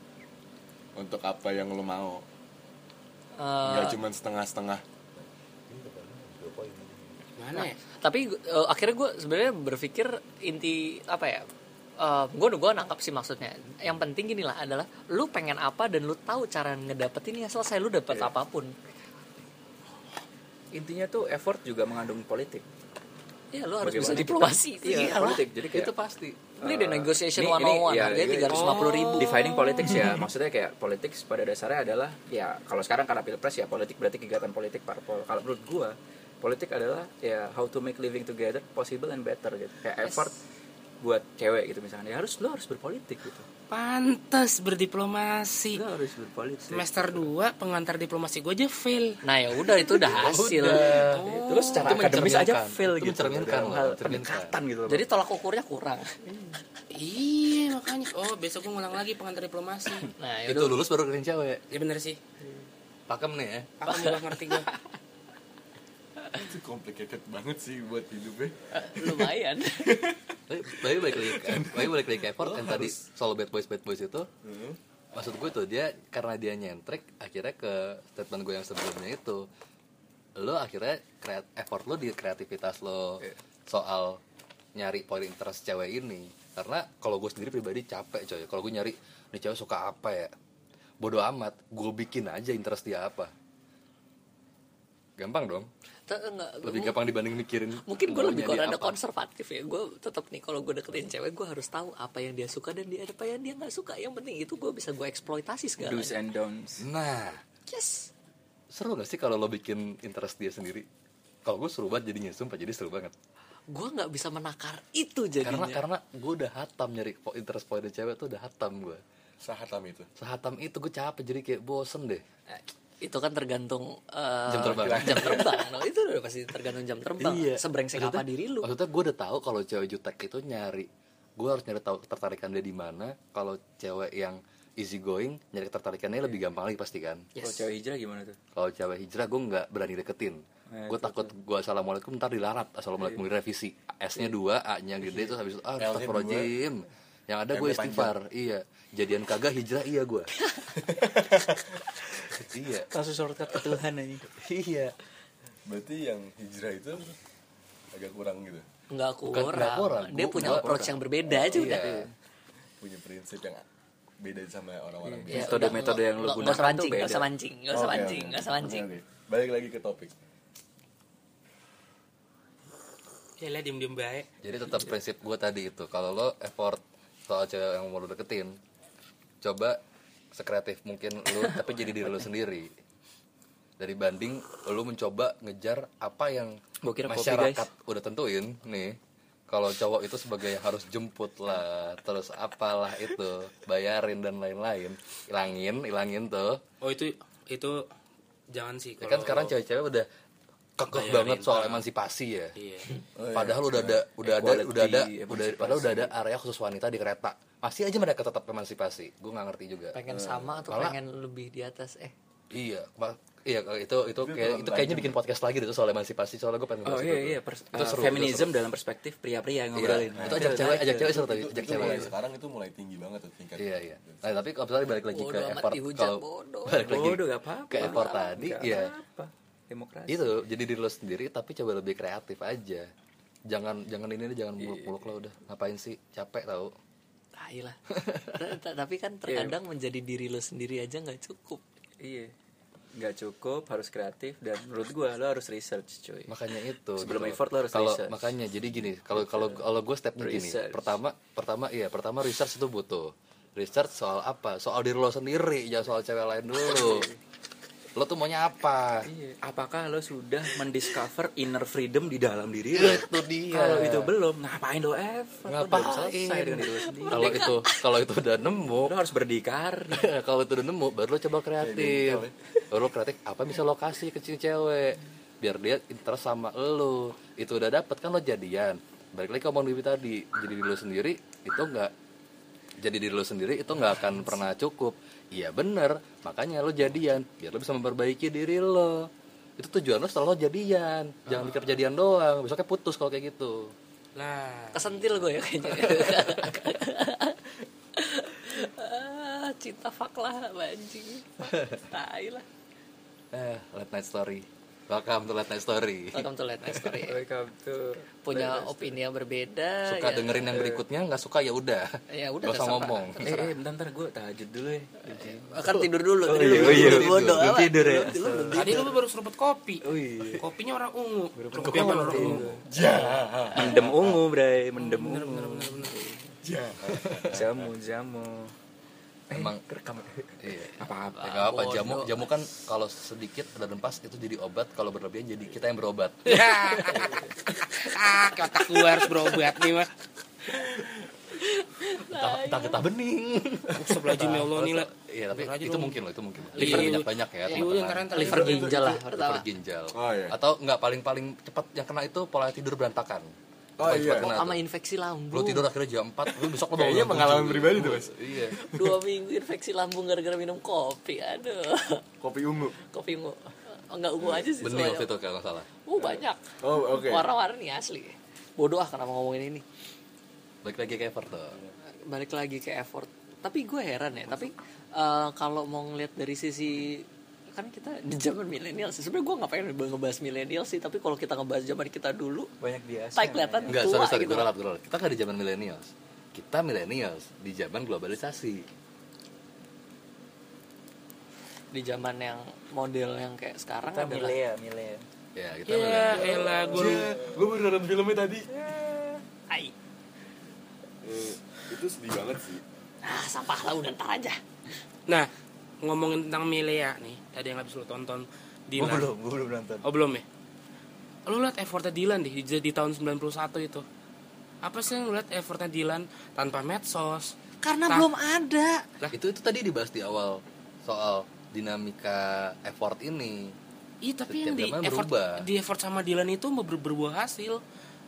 untuk apa yang lo mau. Eh, Enggak cuman setengah-setengah. Nah, mana ya tapi eh, akhirnya gue sebenarnya berpikir inti apa ya gue gue nangkap sih maksudnya yang penting gini lah adalah lu pengen apa dan lu tahu cara ngedapetinnya selesai lu dapet Iya. apapun intinya tuh effort juga mengandung politik ya lu harus bisa Bagaimana kita- diplomasi iya Iyalah. politik jadi kayak Itu pasti. ini ada negotiation Ini- one ini, on one ya, harganya ini- tiga ratus ribu Defining politics ya, maksudnya kayak politics pada dasarnya adalah ya kalau sekarang karena pilpres ya politik berarti kegiatan politik parpol. Kalau menurut gua, politik adalah ya how to make living together possible and better gitu. Kayak effort buat cewek gitu misalnya. Ya harus lu harus berpolitik gitu. pantas berdiplomasi Lu harus berpolitik. semester 2 pengantar diplomasi gue aja fail nah ya udah itu udah hasil Gitu. Terus secara Itu akademis aja mencerminkan. fail Itu gitu. mencerminkan Dalam lah, hal mencerminkan. pendekatan gitu. loh. jadi tolak ukurnya kurang iya makanya oh besok gue ngulang lagi pengantar diplomasi Nah, itu itu lulus baru kerjain cewek ya bener sih pakem nih ya aku juga ngerti gue itu complicated banget sih buat ya. hidupnya Eh, lumayan. tapi tapi balik lagi ke tapi balik lagi ke effort yang tadi solo bad boys bad boys itu maksud gue tuh dia karena dia nyentrek akhirnya ke statement gue yang sebelumnya itu lo akhirnya kreat, effort lo di kreativitas lo soal nyari point interest cewek ini karena kalau gue sendiri pribadi capek coy kalau gue nyari nih cewek suka apa ya bodoh amat gue bikin aja interest dia apa gampang dong Tuh, enggak, lebih gampang dibanding mikirin mungkin gue mau lebih jadi kurang ada apa. konservatif ya gue tetap nih kalau gue deketin cewek gue harus tahu apa yang dia suka dan dia apa yang dia nggak suka yang penting itu gue bisa gue eksploitasi segala do's and don'ts nah yes seru gak sih kalau lo bikin interest dia sendiri kalau gue seru banget jadinya sumpah jadi seru banget gue nggak bisa menakar itu jadinya karena karena gue udah hatam nyari po- interest point cewek tuh udah hatam gue sahatam itu sehatam itu gue capek jadi kayak bosen deh Eh, itu kan tergantung eh, Jam terbang. Iya. jam terbang. No, itu udah pasti tergantung jam terbang seberengsek Maksudnya- apa diri lu maksudnya gue udah tahu kalau cewek jutek itu nyari gue harus nyari tahu ketertarikan dia di mana kalau cewek yang easy going nyari ketertarikannya Iya. lebih gampang lagi pasti kan kalau yes. cewek hijrah gimana tuh kalau cewek hijrah gue nggak berani deketin Eh, Nah, gue itu takut gue assalamualaikum ntar dilarat assalamualaikum direvisi s nya dua a nya gede terus habis itu ah Iya. L-nya astagfirullahaladzim yang ada gue M-nya istighfar iya jadian kagak hijrah iya gue iya langsung shortcut ke Tuhan aja iya berarti yang hijrah itu agak kurang gitu nggak Bukan nggak kurang. kurang. dia Gua- punya nggak approach kurang. yang berbeda aja udah Iya. punya prinsip yang beda sama orang-orang Ya, biasa Metode- udah, metode nggak- yang lu nggak- nggak gunakan usah tuh mancing nggak beda. usah mancing nggak usah Oke, mancing oke. nggak usah mancing Oke, oke. balik lagi ke topik ya lah diem diem baik jadi tetap prinsip gue tadi itu kalau lo effort soal cewek yang mau lo deketin coba sekreatif mungkin lo tapi jadi diri lo sendiri dari banding lo mencoba ngejar apa yang Gua kira kopi, masyarakat udah tentuin nih kalau cowok itu sebagai harus jemput lah terus apalah itu bayarin dan lain-lain ilangin ilangin tuh oh itu itu jangan sih Ya kalau kan sekarang cewek-cewek udah kekeh Bayarin, banget soal ah. emansipasi ya iya padahal udah ada udah ada Equality, udah ada emansipasi. udah padahal udah ada area khusus wanita di kereta masih aja mereka tetap emansipasi gue nggak ngerti juga pengen sama atau malah- pengen lebih di atas eh iya ma- iya itu itu kayak- itu kayaknya bikin podcast lagi deh tuh soal emansipasi soalnya gue pengen oh bahas iya itu. iya pers- Itu uh, seru, itu feminism dalam perspektif pria-pria yang Iya, ngobrolin itu ajak cewek ajak cewek seru tadi itu, ajak itu cewek mulai sekarang itu mulai tinggi banget tuh tingkat iya iya nah, tapi kalau misalnya balik lagi ke Bodoh amat effort dihujat, kalau bodoh. balik lagi bodoh gak apa-apa ke effort tadi Nggak iya apa-apa. demokrasi itu jadi diri lo sendiri tapi coba lebih kreatif aja jangan jangan ini Iya. deh, jangan muluk-muluk lo udah ngapain sih capek tau ah iyalah. Ta- ta- tapi kan terkadang menjadi diri lo sendiri aja nggak cukup iya nggak cukup harus kreatif dan menurut gue lo harus research cuy makanya itu gitu Sebelum effort lo harus kalau research. Gitu. makanya jadi gini kalau kalau kalau gue stepnya gini Research. pertama pertama iya pertama research itu butuh research soal apa soal diri lo sendiri jangan soal cewek lain dulu lo tuh maunya apa Iya. apakah lo sudah mendiscover inner freedom di dalam diri lo itu dia kalau itu belum ngapain lo effort Lo belum selesai ngapain dengan diri lo sendiri kalau itu kalau itu udah nemu lo harus berdikari kalau itu udah nemu baru lo coba kreatif baru lo kreatif apa yang bisa lo kasih ke si cewek biar dia interest sama lo itu udah dapet kan lo jadian balik lagi ke omong Bibi tadi jadi diri lo sendiri itu nggak jadi diri lo sendiri itu nggak akan pernah cukup iya bener makanya lo jadian biar lo bisa memperbaiki diri lo itu tujuan lo setelah lo jadian jangan mikir jadian doang besoknya putus kalau kayak gitu lah kesentil gue ya kayaknya Ah, cinta fuck lah anjing tai lah eh late night story welcome to late night story welcome to late night story welcome to punya opini yang berbeda suka Iya. ya, dengerin yang berikutnya nggak suka ya udah ya udah Nggak usah terserah. ngomong eh, eh bentar bentar gue tahajud dulu ya kan tidur dulu Oh, tidur iya, dulu, iya, tidur iya, dulu, tidur. doang. Tidur ya. Tidur dulu. tadi lu baru seruput kopi oh iya kopinya orang ungu kopi apa orang ungu mendem ungu bray mendem bener bener ungu bener bener jamu jamu emang rekam iya apa apa Ya, nggak apa jamu jamu kan kalau sedikit ada rempas itu jadi obat kalau berlebihan jadi kita yang berobat Iya. ah otak gua harus berobat nih mah entah, entah kita bening sebelah jumi allah nih lah iya tapi Bener aja itu lu. mungkin loh itu mungkin Iya. banyak banyak ya Iya, teman-teman. yang keren tadi. liver ginjal lah pertama Liver ginjal Oh, iya. atau nggak paling paling cepat yang kena itu pola tidur berantakan oh Oh, Gua cepat iya. kena Kok sama tuh. infeksi lambung. Lu tidur akhirnya jam 4, lu besok lu bangun Kayaknya jam pengalaman tujuh. pribadi tuh mas Iya. Dua minggu infeksi lambung gara-gara minum kopi. Aduh. Kopi ungu Kopi ungu. Enggak ungu aja sih. Bening soalnya. waktu itu kalau nggak salah. Oh, banyak. Oh oke Warna-warni asli. Bodoh ah kenapa ngomongin ini. Balik lagi ke effort tuh. Balik lagi ke effort. Tapi gue heran ya. Tapi eh, kalau mau ngeliat dari sisi kan kita di zaman milenial sih sebenarnya gue nggak pengen ngebahas milenial sih tapi kalau kita ngebahas zaman kita dulu banyak biasa Tai kelihatan. Enggak, Tua ya. sorry, sorry, gitu. gue ralat, gue ralat. Kita nggak di zaman millennials. Kita millennials di zaman globalisasi. di zaman yang model yang kayak sekarang kita adalah milea milea Ya, kita Ya millennials. elah gue Iya. Gue baru nonton filmnya tadi Ai. Eh, Itu sedih banget sih Ah, sampah lah udah ntar aja. Nah, ngomongin tentang Milea nih, ada yang habis lu tonton gue Dylan. belum gue belum nonton Oh, belum ya? Lu liat effortnya Dylan deh di, di tahun 91 itu. Apa sih yang lu liat effortnya Dylan tanpa medsos? Karena Ta- belum ada. Nah, Itu itu tadi dibahas di awal soal dinamika effort ini. Iya, tapi yang di Setiap zaman effort berubah. di effort sama Dylan itu ber- berbuah hasil.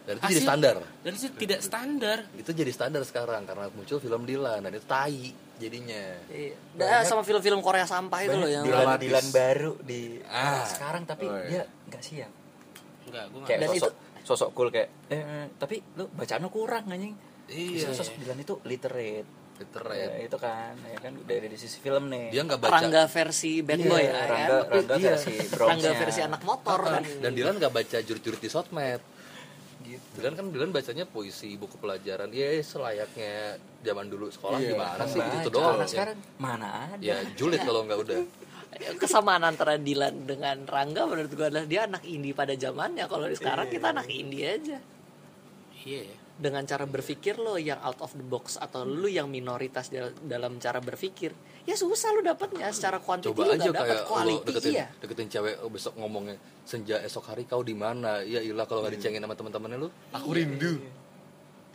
Dan itu jadi standar. Dan itu tidak standar. Itu jadi standar sekarang karena muncul film Dylan dan itu tai jadinya. Iya. Dah sama film-film Korea sampah itu loh yang Dilan, dramatis. Dilan baru di Ah. sekarang tapi Oh, iya. dia nggak siap Enggak, gue kayak Dan sosok sosok cool kayak eh, eh, tapi lu bacaan lu kurang anjing Iya. Biasanya sosok Dilan itu literate Literate. Ya, itu kan ya kan dari dari sisi film nih Dia nggak baca. Rangga versi bad boy Iya, ya, kan? Rangga, Rangga Iya. versi Bronx Rangga versi anak motor kan. Dan Dylan nggak baca jurit-jurit di sosmed. gitu Dylan kan Dylan bacanya puisi, buku pelajaran. Ya selayaknya zaman dulu sekolah Iya. gimana sih Baca, itu doang. anak Ya. Nah, sekarang mana ada Ya julid kalau nggak udah. Kesamaan antara Dilan dengan Rangga menurut gue adalah dia anak indie pada zamannya. Kalau di Iya. sekarang kita anak indie aja. Iya ya. Dengan cara berpikir lo yang out of the box atau lu yang minoritas dal- dalam cara berpikir, ya susah lu dapatnya secara kuantiti lu Coba aja gak dapat kayak lo quality deketin, iya. deketin cewek oh, besok ngomongnya senja esok hari kau di mana? Ya ilah kalau nggak dicengin sama teman-temannya lu. Aku rindu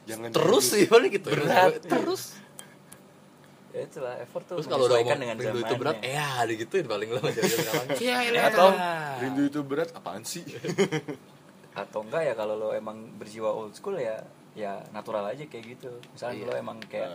Jangan Terus rindu. sih paling gitu. Berat. Terus. Ya, itulah effort tuh Terus kalau udah menyesuaikan ngomong rindu itu berat, zamannya. eh ya, digituin paling lu sama cewek sekarang. Iya, elah. Atau rindu itu berat apaan sih eh. atau enggak ya kalau lo emang berjiwa old school ya ya natural aja kayak gitu Iya. misalnya lo emang kayak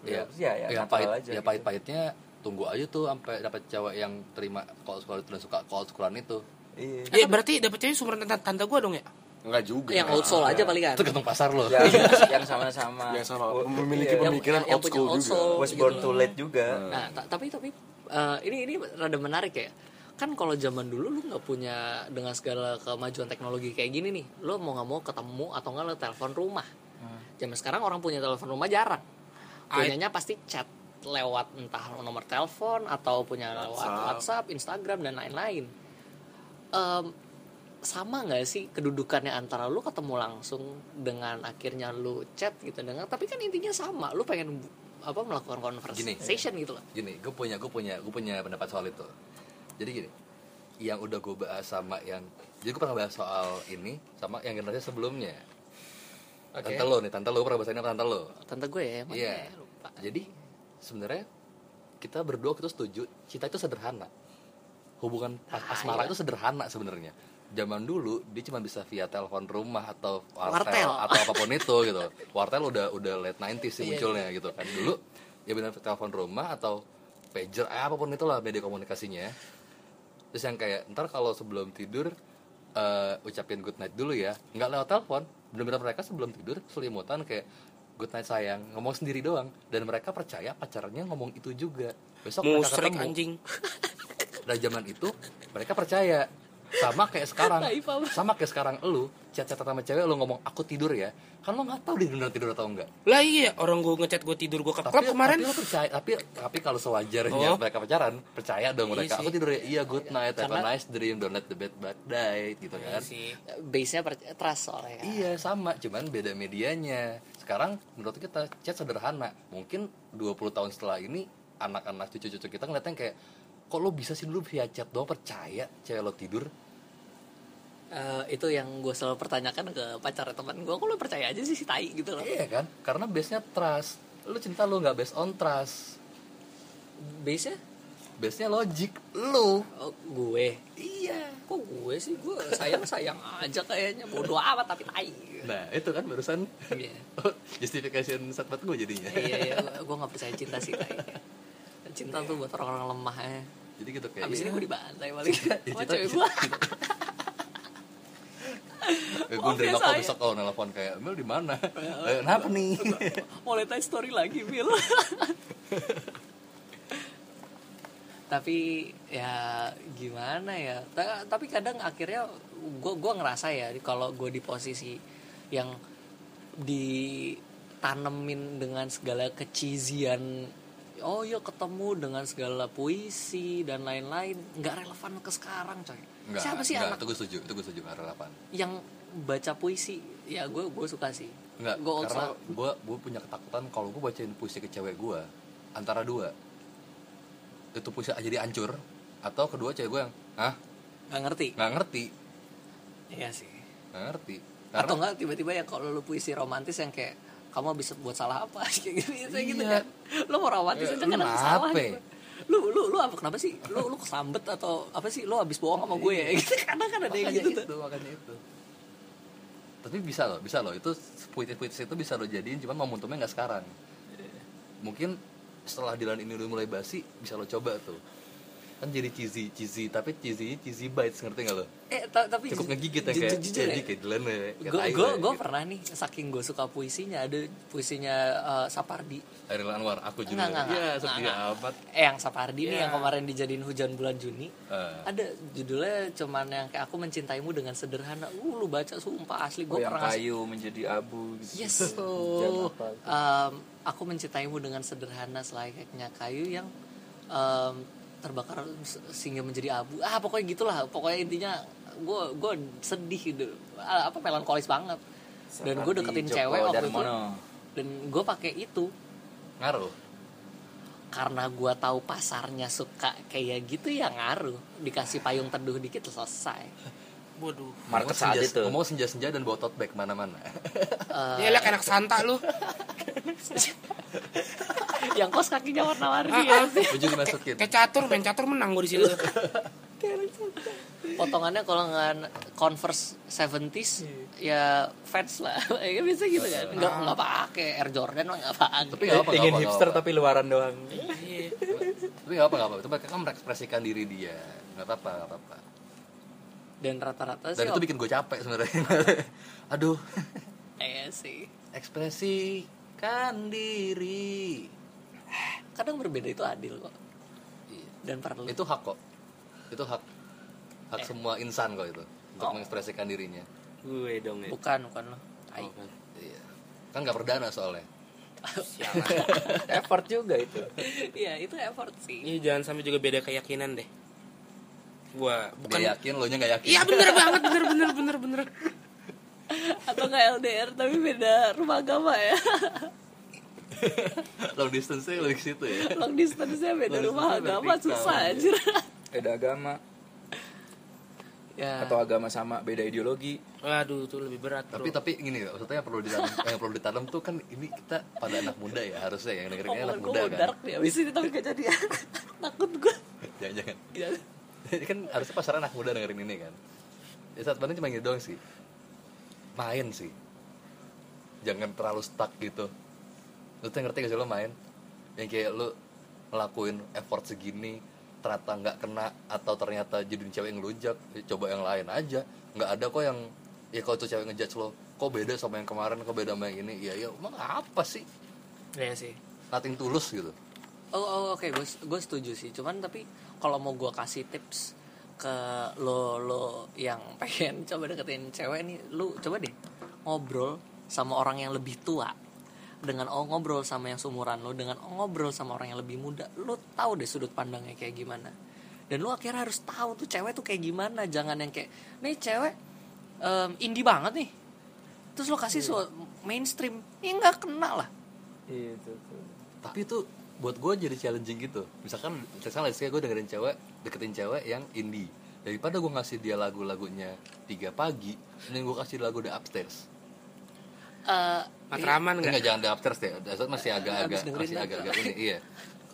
Ya, ya, ya, ya, natural pahit, aja ya gitu. pahit-pahitnya tunggu aja tuh sampai dapat cewek yang terima call sekolah itu dan suka call sekolahan itu. iya Ya, berarti dapet cewek sumber tante, tante gue dong ya? Enggak juga Yang old Iya. soul aja paling kan. Tergantung pasar lo. Ya, yang sama-sama Yang sama Oh, memiliki iya. pemikiran yang old punya school old juga soul. was born too late juga Nah, ta- tapi tapi eh, ini ini rada menarik ya. Kan kalau zaman dulu lu nggak punya dengan segala kemajuan teknologi kayak gini nih, lu mau nggak mau ketemu atau nggak lu telepon rumah. Zaman sekarang orang punya telepon rumah jarang. Punyanya pasti chat lewat entah nomor telepon atau punya lewat WhatsApp. WhatsApp, Instagram dan lain-lain. Em, sama nggak sih kedudukannya antara lu ketemu langsung dengan akhirnya lu chat gitu dengan tapi kan intinya sama lu pengen bu- apa melakukan conversation gitu loh gini gue punya gue punya gue punya pendapat soal itu jadi gini yang udah gue bahas sama yang jadi gue pernah bahas soal ini sama yang generasi sebelumnya Oke. tante lo nih tante lo pernah bahas ini sama tante lo tante gue ya emang iya ya, lupa jadi sebenarnya kita berdua kita setuju cinta itu sederhana hubungan pas- Ah, asmara iya. itu sederhana sebenarnya zaman dulu dia cuma bisa via telepon rumah atau Wartel. Iya, wartel, atau apapun itu gitu wartel udah udah late 90s sih munculnya gitu kan dulu ya benar telepon rumah atau pager eh, apapun itulah media komunikasinya terus yang kayak ntar kalau sebelum tidur eh, ucapin good night dulu ya nggak lewat telepon benar-benar mereka sebelum tidur selimutan kayak good night sayang ngomong sendiri doang dan mereka percaya pacarnya ngomong itu juga besok mereka Musrik ketemu anjing. dari zaman itu mereka percaya sama kayak sekarang Tai, Pak. sama kayak sekarang lu chat chat sama cewek lu ngomong aku tidur ya kan lu nggak tahu dia benar tidur atau enggak Lah iya, orang gue ngechat gue tidur gue ke klub tapi kemarin. tapi lu percaya tapi tapi kalau sewajarnya Oh. mereka pacaran percaya dong Iya mereka sih. aku tidur ya iya good night have a Karena- nice dream don't let the bed bad die gitu kan Iya Sih. base nya trust soalnya kan. Iya sama, cuman beda medianya. Sekarang menurut kita chat sederhana. Mungkin 20 tahun setelah ini anak-anak cucu-cucu kita ngeliatnya kayak kok lo bisa sih dulu via chat doang percaya cewek lo tidur Eh, itu yang gue selalu pertanyakan ke pacar teman gue kok lu percaya aja sih si tai gitu loh iya kan karena base nya trust lo cinta lo nggak based on trust base nya base nya logic lo Oh, gue iya kok gue sih gue sayang sayang aja kayaknya bodoh amat tapi tai Nah, itu kan barusan Iya. Oh, justification statement gue jadinya. iya iya gue nggak percaya cinta sih kayak cinta tuh buat orang-orang lemah ya Jadi gitu kayak. abis ini ya, gue dibantai balik sama cewek gue gue oh, biasa ya. nerima kok aja. besok kalau Eh, nelfon kayak Mil di mana? Eh, Kenapa nih? monetize story lagi Bill tapi ya gimana ya Ta- tapi kadang akhirnya gue gua ngerasa ya kalau gue di posisi yang ditanemin dengan segala kecizian oh ya ketemu dengan segala puisi dan lain-lain nggak relevan ke sekarang coy Enggak. siapa sih enggak, anak Itu gue setuju, itu gue setuju nggak relevan. yang baca puisi ya gue gue suka sih Enggak, gue old karena style. gue gue punya ketakutan kalau gue bacain puisi ke cewek gue antara dua itu puisi jadi hancur atau kedua cewek gue yang ah nggak ngerti nggak ngerti iya sih nggak ngerti atau enggak tiba-tiba ya kalau lu puisi romantis yang kayak kamu bisa buat salah apa kayak gitu kayak gitu Iya. kan lu mau romantis Ya, aja lu kan ada kenapa? salah gitu. lu lu lu apa kenapa sih lu lu kesambet atau apa sih lu habis bohong sama gue ya gitu karena kan ada yang Iya. makanya gitu itu, tuh makanya itu tapi bisa loh bisa loh itu puisi-puisi itu bisa lo jadiin cuman momentumnya nggak sekarang Iya. mungkin setelah Dilan ini udah mulai basi bisa lo coba tuh kan jadi cheesy cheesy tapi cheesy cheesy bites ngerti nggak lo eh ta- tapi cukup ju- ngegigit ya ju- kayak jujur jadi ya, kayak Dilan ya kayak gue gue tai lah ya, gue gitu. pernah nih saking gue suka puisinya ada puisinya eh, Sapardi Ariel Anwar aku Enggak, judulnya enggak, enggak. Iya, ya sedih Enggak, enggak. amat eh yang Sapardi nih yang kemarin dijadiin hujan bulan Juni Eh. ada judulnya cuman yang kayak aku mencintaimu dengan sederhana uh lu baca sumpah asli gue Oh, yang pernah ngasih- kayu menjadi abu gitu. yes Jangan apa. Em, aku mencintaimu dengan sederhana selayaknya kayu yang em, terbakar se- sehingga menjadi abu ah pokoknya gitulah pokoknya intinya gue gue sedih gitu Ah, apa melankolis banget dan gue deketin Seperti cewek Joko waktu itu Darmono. dan gue pakai itu ngaruh karena gua tahu pasarnya suka kayak gitu ya ngaruh dikasih payung teduh dikit selesai Waduh. Market Ngomong saat senja- itu. ngomong senja-senja dan bawa tote bag mana-mana Eh, Ya lah enak santa lu. yang kos kakinya warna-warni Ah, ah. baju dimasukin Kayak catur, main catur menang gue di situ. potongannya kalau nggak converse 70s ya Iya. fans lah ya biasa gitu kan nggak nggak pakai air jordan mah nggak pakai Tapi nggak apa, nggak Ingin apa, nggak hipster apa. tapi luaran doang. Iya. tapi nggak apa nggak apa itu mereka kan merekspresikan diri dia nggak apa nggak apa dan rata-rata dan sih itu bikin gue capek sebenarnya aduh iya sih ekspresikan diri kadang berbeda itu adil kok Iya. dan Hmm. perlu itu hak kok itu hak Eh. hak semua insan kok itu untuk Oh. mengekspresikan dirinya Gue dong ya. bukan bukan lo Tai. Oh, kan. iya kan nggak perdana soalnya Effort juga itu. iya itu effort sih Ini jangan sampai juga beda keyakinan deh. Gua Dia bukan yakin lo nya nggak yakin Iya bener banget, bener bener bener bener. atau nggak LDR tapi beda rumah agama ya long distance nya lebih ke situ ya long distance-nya beda Long rumah distance-nya agama vertikal. susah anjir. Beda agama ya. Ya, atau agama sama beda ideologi. Waduh, itu lebih berat, Bro. tapi tapi gini maksudnya yang perlu ditanam yang perlu ditanam tuh kan ini kita pada anak muda ya harusnya yang dengerinnya omongan anak gue muda mau kan dark nih abis ini tapi gak jadi takut gue jangan jangan Jadi kan harusnya pasaran anak muda dengerin ini kan ya saat mana cuma gitu doang sih main sih jangan terlalu stuck gitu lu tuh ngerti gak sih lo main yang kayak lu ngelakuin effort segini ternyata nggak kena atau ternyata jadi cewek ngelunjak ya coba yang lain aja nggak ada kok yang ya kalau tuh cewek ngejudge lo kok beda sama yang kemarin kok beda sama yang ini ya ya emang apa sih Iya sih. nating tulus gitu oh, oh oke gue gue setuju sih cuman tapi kalau mau gue kasih tips ke lo lo yang pengen coba deketin cewek nih lu coba deh ngobrol sama orang yang lebih tua dengan oh ngobrol sama yang seumuran lo dengan oh ngobrol sama orang yang lebih muda lo tahu deh sudut pandangnya kayak gimana dan lo akhirnya harus tahu tuh cewek tuh kayak gimana jangan yang kayak nih cewek em, indie banget nih terus lo kasih su- mainstream ya nggak kena lah Iya, Itu tapi itu buat gue jadi challenging gitu misalkan misalkan let's say gue dengerin cewek deketin cewek yang indie daripada gue ngasih dia lagu-lagunya tiga pagi dan gue kasih lagu The Upstairs Eh, Matraman enggak? enggak jangan The Upstairs deh The Upstairs masih agak-agak Abis dengerin masih lagu. agak-agak ini iya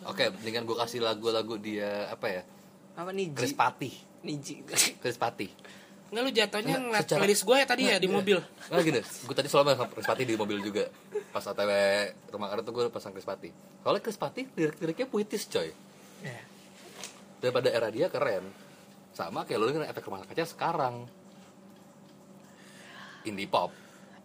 oke dengan gue kasih lagu-lagu dia apa ya apa nih Ji? Chris Patih Niji Chris Patih Enggak lu jatuhnya Enggak, ngeliat secara- playlist gue ya tadi ya di mobil. Nah gini, gue tadi soalnya pasang Chris Pati di mobil juga Pas ATW rumah karet tuh gue pasang Chris Pati Soalnya Chris Pati lirik-liriknya puitis coy Iya. Daripada era dia keren Sama kayak lo dengan efek rumah kaca sekarang Indie pop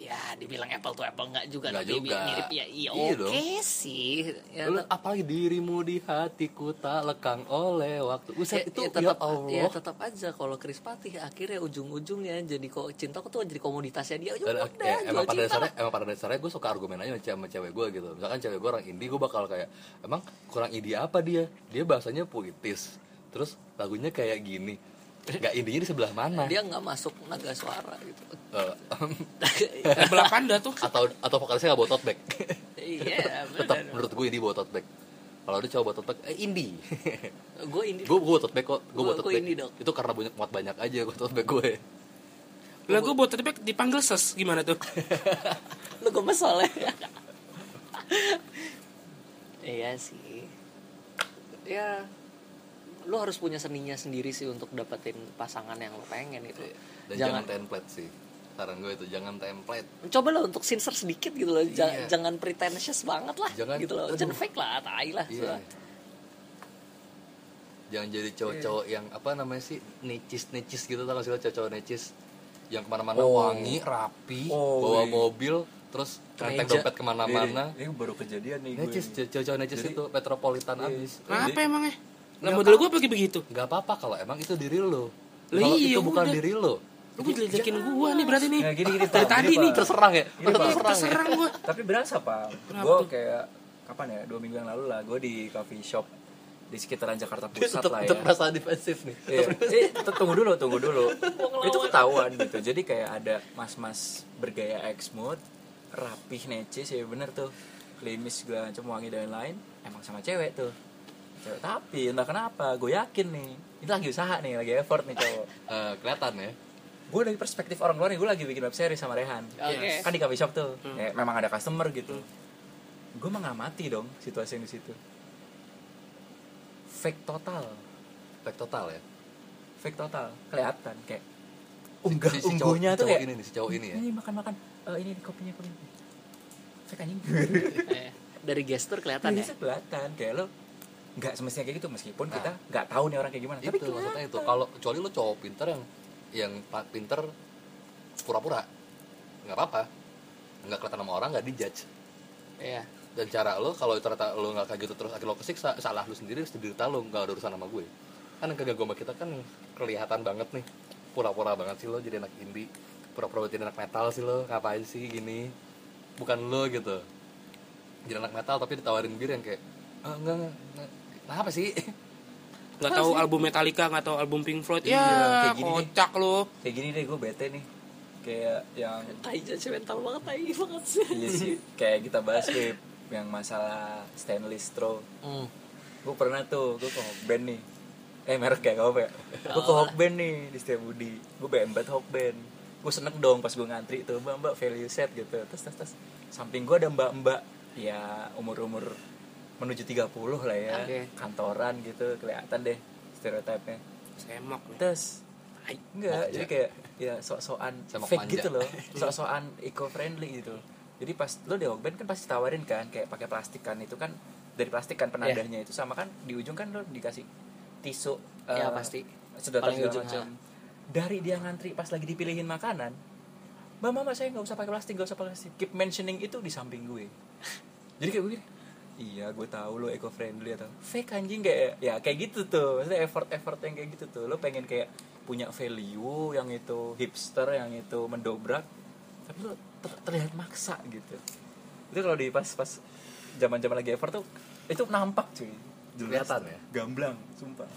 ya dibilang apple to apple nggak juga Nggak tapi juga. mirip ya iya Iya oke dong. sih ya, Lu, tetap- apalagi dirimu di hatiku tak lekang oleh waktu ya, Uset itu ya, ya tetap Allah ya tetap aja kalau Chris Patih akhirnya ujung-ujungnya jadi kok cinta aku tuh jadi komoditasnya dia Dan, udah ya, jual emang pada cinta dasarnya emang pada dasarnya gue suka argumen aja sama ce- sama cewek gue gitu misalkan cewek gue orang indie gue bakal kayak emang kurang indie apa dia dia bahasanya puitis terus lagunya kayak gini nggak indinya di sebelah mana Nah, dia nggak masuk naga suara gitu Eh, Belah panda tuh. atau atau vokalisnya nggak bawa tote bag iya tetap benar menurut gue indie bawa tote bag kalau dia coba bawa tote bag eh, indie gue ini gue gue tote bag kok gue Gua- bawa tote gua bag indie, Dok. itu karena banyak muat banyak aja gue tote bag ya. gue Lah gue buat tadi dipanggil ses gimana tuh? lu gemes soalnya iya sih ya lu harus punya seninya sendiri sih untuk dapetin pasangan yang lu pengen gitu dan jangan, template sih saran gue itu jangan template coba lah untuk sincer sedikit gitu loh Ja- Iya. jangan pretentious banget lah Jangan- gitu loh aduh. jangan fake lah tai lah Iya. Jangan jadi cowok-cowok Iya. yang apa namanya sih necis-necis gitu tau gak sih lo, cowok-cowok necis yang kemana-mana wangi, rapi, Oh, bawa iya. mobil, terus kenteng Kemeja. dompet kemana-mana. Ini baru kejadian nih gue. Necis, nih. cowok-cowok necis Jadi- Iya. itu metropolitan abis. Kenapa Jadi- emangnya? Lah model gue pergi begitu. Gak apa-apa kalau emang itu diri lo. Lah Kalau iya, itu bukan udah. diri lo. Lu gue jelekin gue nih berarti nih. Nah, gini, gini, Dari Pak. tadi Gini, nih. Pak. Terserang ya? Ini Pak. terserang ya? Terserang gue. tapi berasa pak Kenapa gue tuh? kayak kapan ya dua minggu yang lalu lah gue di coffee shop di sekitaran Jakarta Dia Pusat tetap lah ya tetap merasa defensif nih. Iya. Eh, tetep tunggu dulu, tunggu dulu. itu ketahuan gitu. Jadi kayak ada mas-mas bergaya X mode, rapih necis ya bener tuh. Klimis gue cuma wangi dan lain, emang sama cewek tuh. Cewek, tapi entah kenapa, gue yakin nih. Ini lagi usaha nih, lagi effort nih cowok. Eh, kelihatan ya. gue dari perspektif orang luar nih, gue lagi bikin web series sama Rehan. Oke. Kan di coffee shop tuh, ya, memang ada customer gitu. Gue mengamati dong situasi yang di situ. Fake total Fake total ya. fake total kelihatan kayak unggah Unggah, si, si cowok- ungguhnya tuh si cowok kayak "Oh, ini nih, si cowok ini ya. ini makan makan Eh, ini kopinya kopinya fake anjing Eh, dari gestur kelihatan ini ya kelihatan kayak lo nggak semestinya kayak gitu meskipun kita nggak tahu nih orang kayak gimana tapi Nah. itu Gitu, maksudnya itu kalau kecuali lo cowok pinter yang yang pa- pinter pura-pura nggak apa-apa nggak kelihatan sama orang nggak dijudge iya dan cara lo kalau ternyata lo nggak kayak gitu terus akhirnya lo kesiksa salah lo sendiri sendiri lo nggak ada urusan sama gue kan yang kagak gue sama kita kan kelihatan banget nih pura-pura banget sih lo jadi anak indie pura-pura jadi anak metal sih lo ngapain sih gini bukan lo gitu jadi anak metal tapi ditawarin bir yang kayak "Ah, enggak, enggak, enggak. kenapa sih Gak tahu album Metallica, gak tahu album Pink Floyd. Iya, Ya, kayak gini nih. kocak lu. kayak gini deh gue bete nih kayak yang tai judgmental banget tai banget sih iya sih kayak kita bahas deh yang masalah stainless straw Hmm. gue pernah tuh gue ke band nih eh merek ya gak apa ya gue Oh. ke band nih di Setiabudi gue bembet band gue seneng dong pas gue ngantri tuh mbak mbak value set gitu terus terus terus samping gue ada mbak mbak ya umur umur menuju 30 lah ya Oke. kantoran gitu kelihatan deh stereotipnya Semok nih. terus enggak jadi kayak ya sok-sokan Semok fake manja. gitu loh sok-sokan eco friendly gitu jadi pas lo di Hawkband kan pasti tawarin kan kayak pakai plastik kan itu kan dari plastik kan penandanya itu sama kan di ujung kan lo dikasih tisu Ya, eh, pasti. sedotan Paling segala ujung, macam dari dia ngantri pas lagi dipilihin makanan mbak mama saya nggak usah pakai plastik nggak usah pakai plastik keep mentioning itu di samping gue jadi kayak gue gini, iya gue tahu lo eco friendly atau fake anjing kayak ya kayak gitu tuh maksudnya effort effort yang kayak gitu tuh lo pengen kayak punya value yang itu hipster yang itu mendobrak tapi lo ter- terlihat maksa gitu itu kalau di pas pas zaman zaman lagi effort tuh itu nampak cuy jelas Kelihatan ya? gamblang sumpah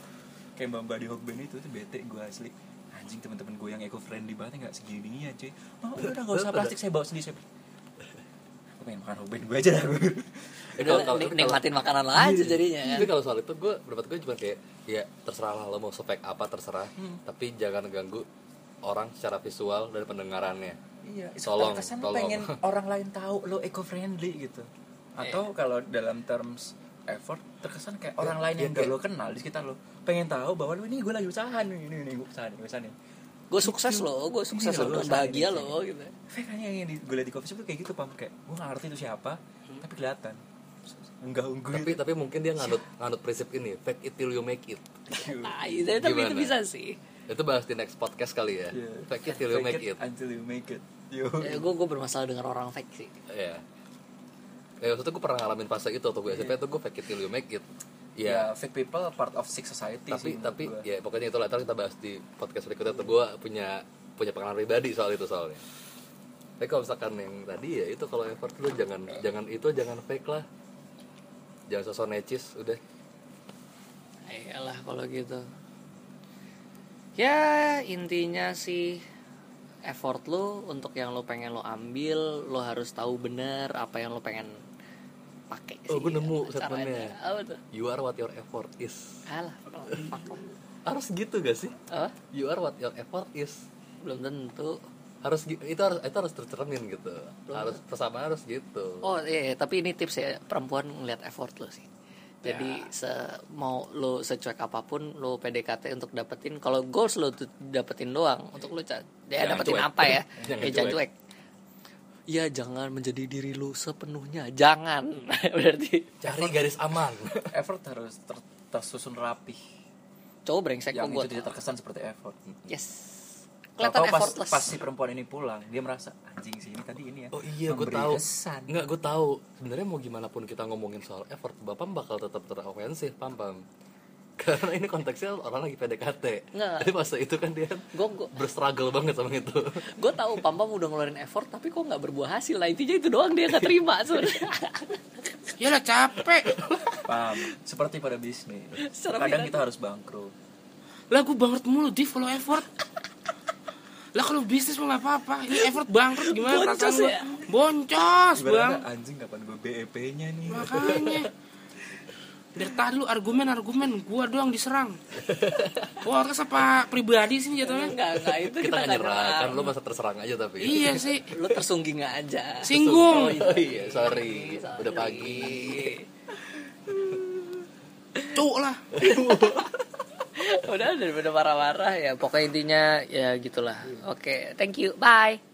kayak mbak mbak di Hokben itu tuh bete gue asli anjing teman-teman gue yang eco friendly banget nggak segini ya cuy oh, udah nggak usah plastik saya bawa sendiri saya gue pengen makan Hokben gue aja lah Udah, Eh, nik- kalau- kalau- Iya. kalau- nikmatin makanan lah aja jadinya kan Tapi kalau soal itu gue pendapat gue cuma kayak ya terserah lah lo mau spek apa terserah, tapi jangan ganggu orang secara visual dan pendengarannya. Iya, tolong, Tolong, kesan tolong. pengen orang lain tahu lo eco friendly gitu. Atau kalau dalam terms effort terkesan kayak orang lain yang Iya. iya, gak lo kenal di sekitar lo pengen tahu bahwa lo ini gue lagi usaha nih ini ini gue usaha nih gue usaha nih gue sukses loh gue sukses Iya, loh lu bahagia rasain loh gitu Kayaknya yang di, gue liat di coffee shop tuh kayak gitu pam kayak gue gak ngerti itu siapa tapi kelihatan enggak unggul tapi tapi mungkin dia nganut nganut prinsip ini fake it till you make it nah, itu, tapi itu Gimana? bisa sih itu bahas di next podcast kali ya Iya. fake it till you make it until you make it yo ya, gue gue bermasalah dengan orang fake sih ya ya waktu itu gue pernah ngalamin fase itu waktu gue SMP Iya. itu gue fake it till you make it ya ya fake people part of sick society tapi sih, menurut tapi gua. ya pokoknya itu lah ntar kita bahas di podcast berikutnya tuh gue punya punya pengalaman pribadi soal itu soalnya tapi kalau misalkan yang tadi ya itu kalau effort lu jangan jangan itu jangan fake lah jangan sosok necis udah Iyalah kalau gitu. Ya intinya sih effort lu untuk yang lu pengen lu ambil, lu harus tahu bener apa yang lu pengen pakai sih. Oh, gua nemu caranya. statementnya. Apa tuh? you are what your effort is Alah, fuck lah. harus gitu gak sih Apa? you are what your effort is Belum tentu. harus gi- itu harus itu harus tercermin gitu harus persamaan harus gitu Oh iya, iya, tapi ini tips ya perempuan ngeliat effort lo sih. Jadi Ya. se- mau lo secuek apapun lo PDKT untuk dapetin kalau goals lo tuh dapetin doang untuk lo ca- ya Jangan dapetin cuek. apa ya? Jangan ya jangan cuek. cuek. Ya jangan menjadi diri lo sepenuhnya. Jangan. Berarti cari garis aman effort harus ter- tersusun rapih cowok brengsek yang kok gue. itu tidak terkesan seperti effort Yes. Kelihatan Kelihatan pas, effortless. pas si perempuan ini pulang dia merasa anjing sih ini tadi ini ya oh iya gue memberi tahu kesan nggak gue tahu sebenarnya mau gimana pun kita ngomongin soal effort bapak bakal tetap terofensif pam pam karena ini konteksnya orang lagi PDKT Nggak. jadi masa itu kan dia Gue gue berstruggle banget sama itu gue tahu Pampam udah ngeluarin effort tapi kok nggak berbuah hasil lah intinya itu doang dia nggak terima sebenarnya. Yalah Ya capek. paham seperti pada bisnis Secara pikiran. kadang kita harus bangkrut Lah gue bangkrut mulu di follow effort. Lah kalau bisnis mah nggak apa-apa. Ini effort bangkrut gimana Boncos perasaan gua? ya? Boncos, Bang. Ibaratnya, anjing kapan gue BEP nya nih Makanya. Dari tadi lu argumen-argumen gua doang diserang. Podcast apa pribadi sih ini jatuhnya? Enggak, enggak itu kita kita, nggak nggak nyerah kan nyerang. lo masa terserang aja tapi Iya sih. Lu tersungging aja. Oh Singgung. iya, sorry, udah pagi. Cuk lah. Udah daripada marah-marah ya. Pokoknya intinya ya gitulah. Oke, thank you. Bye.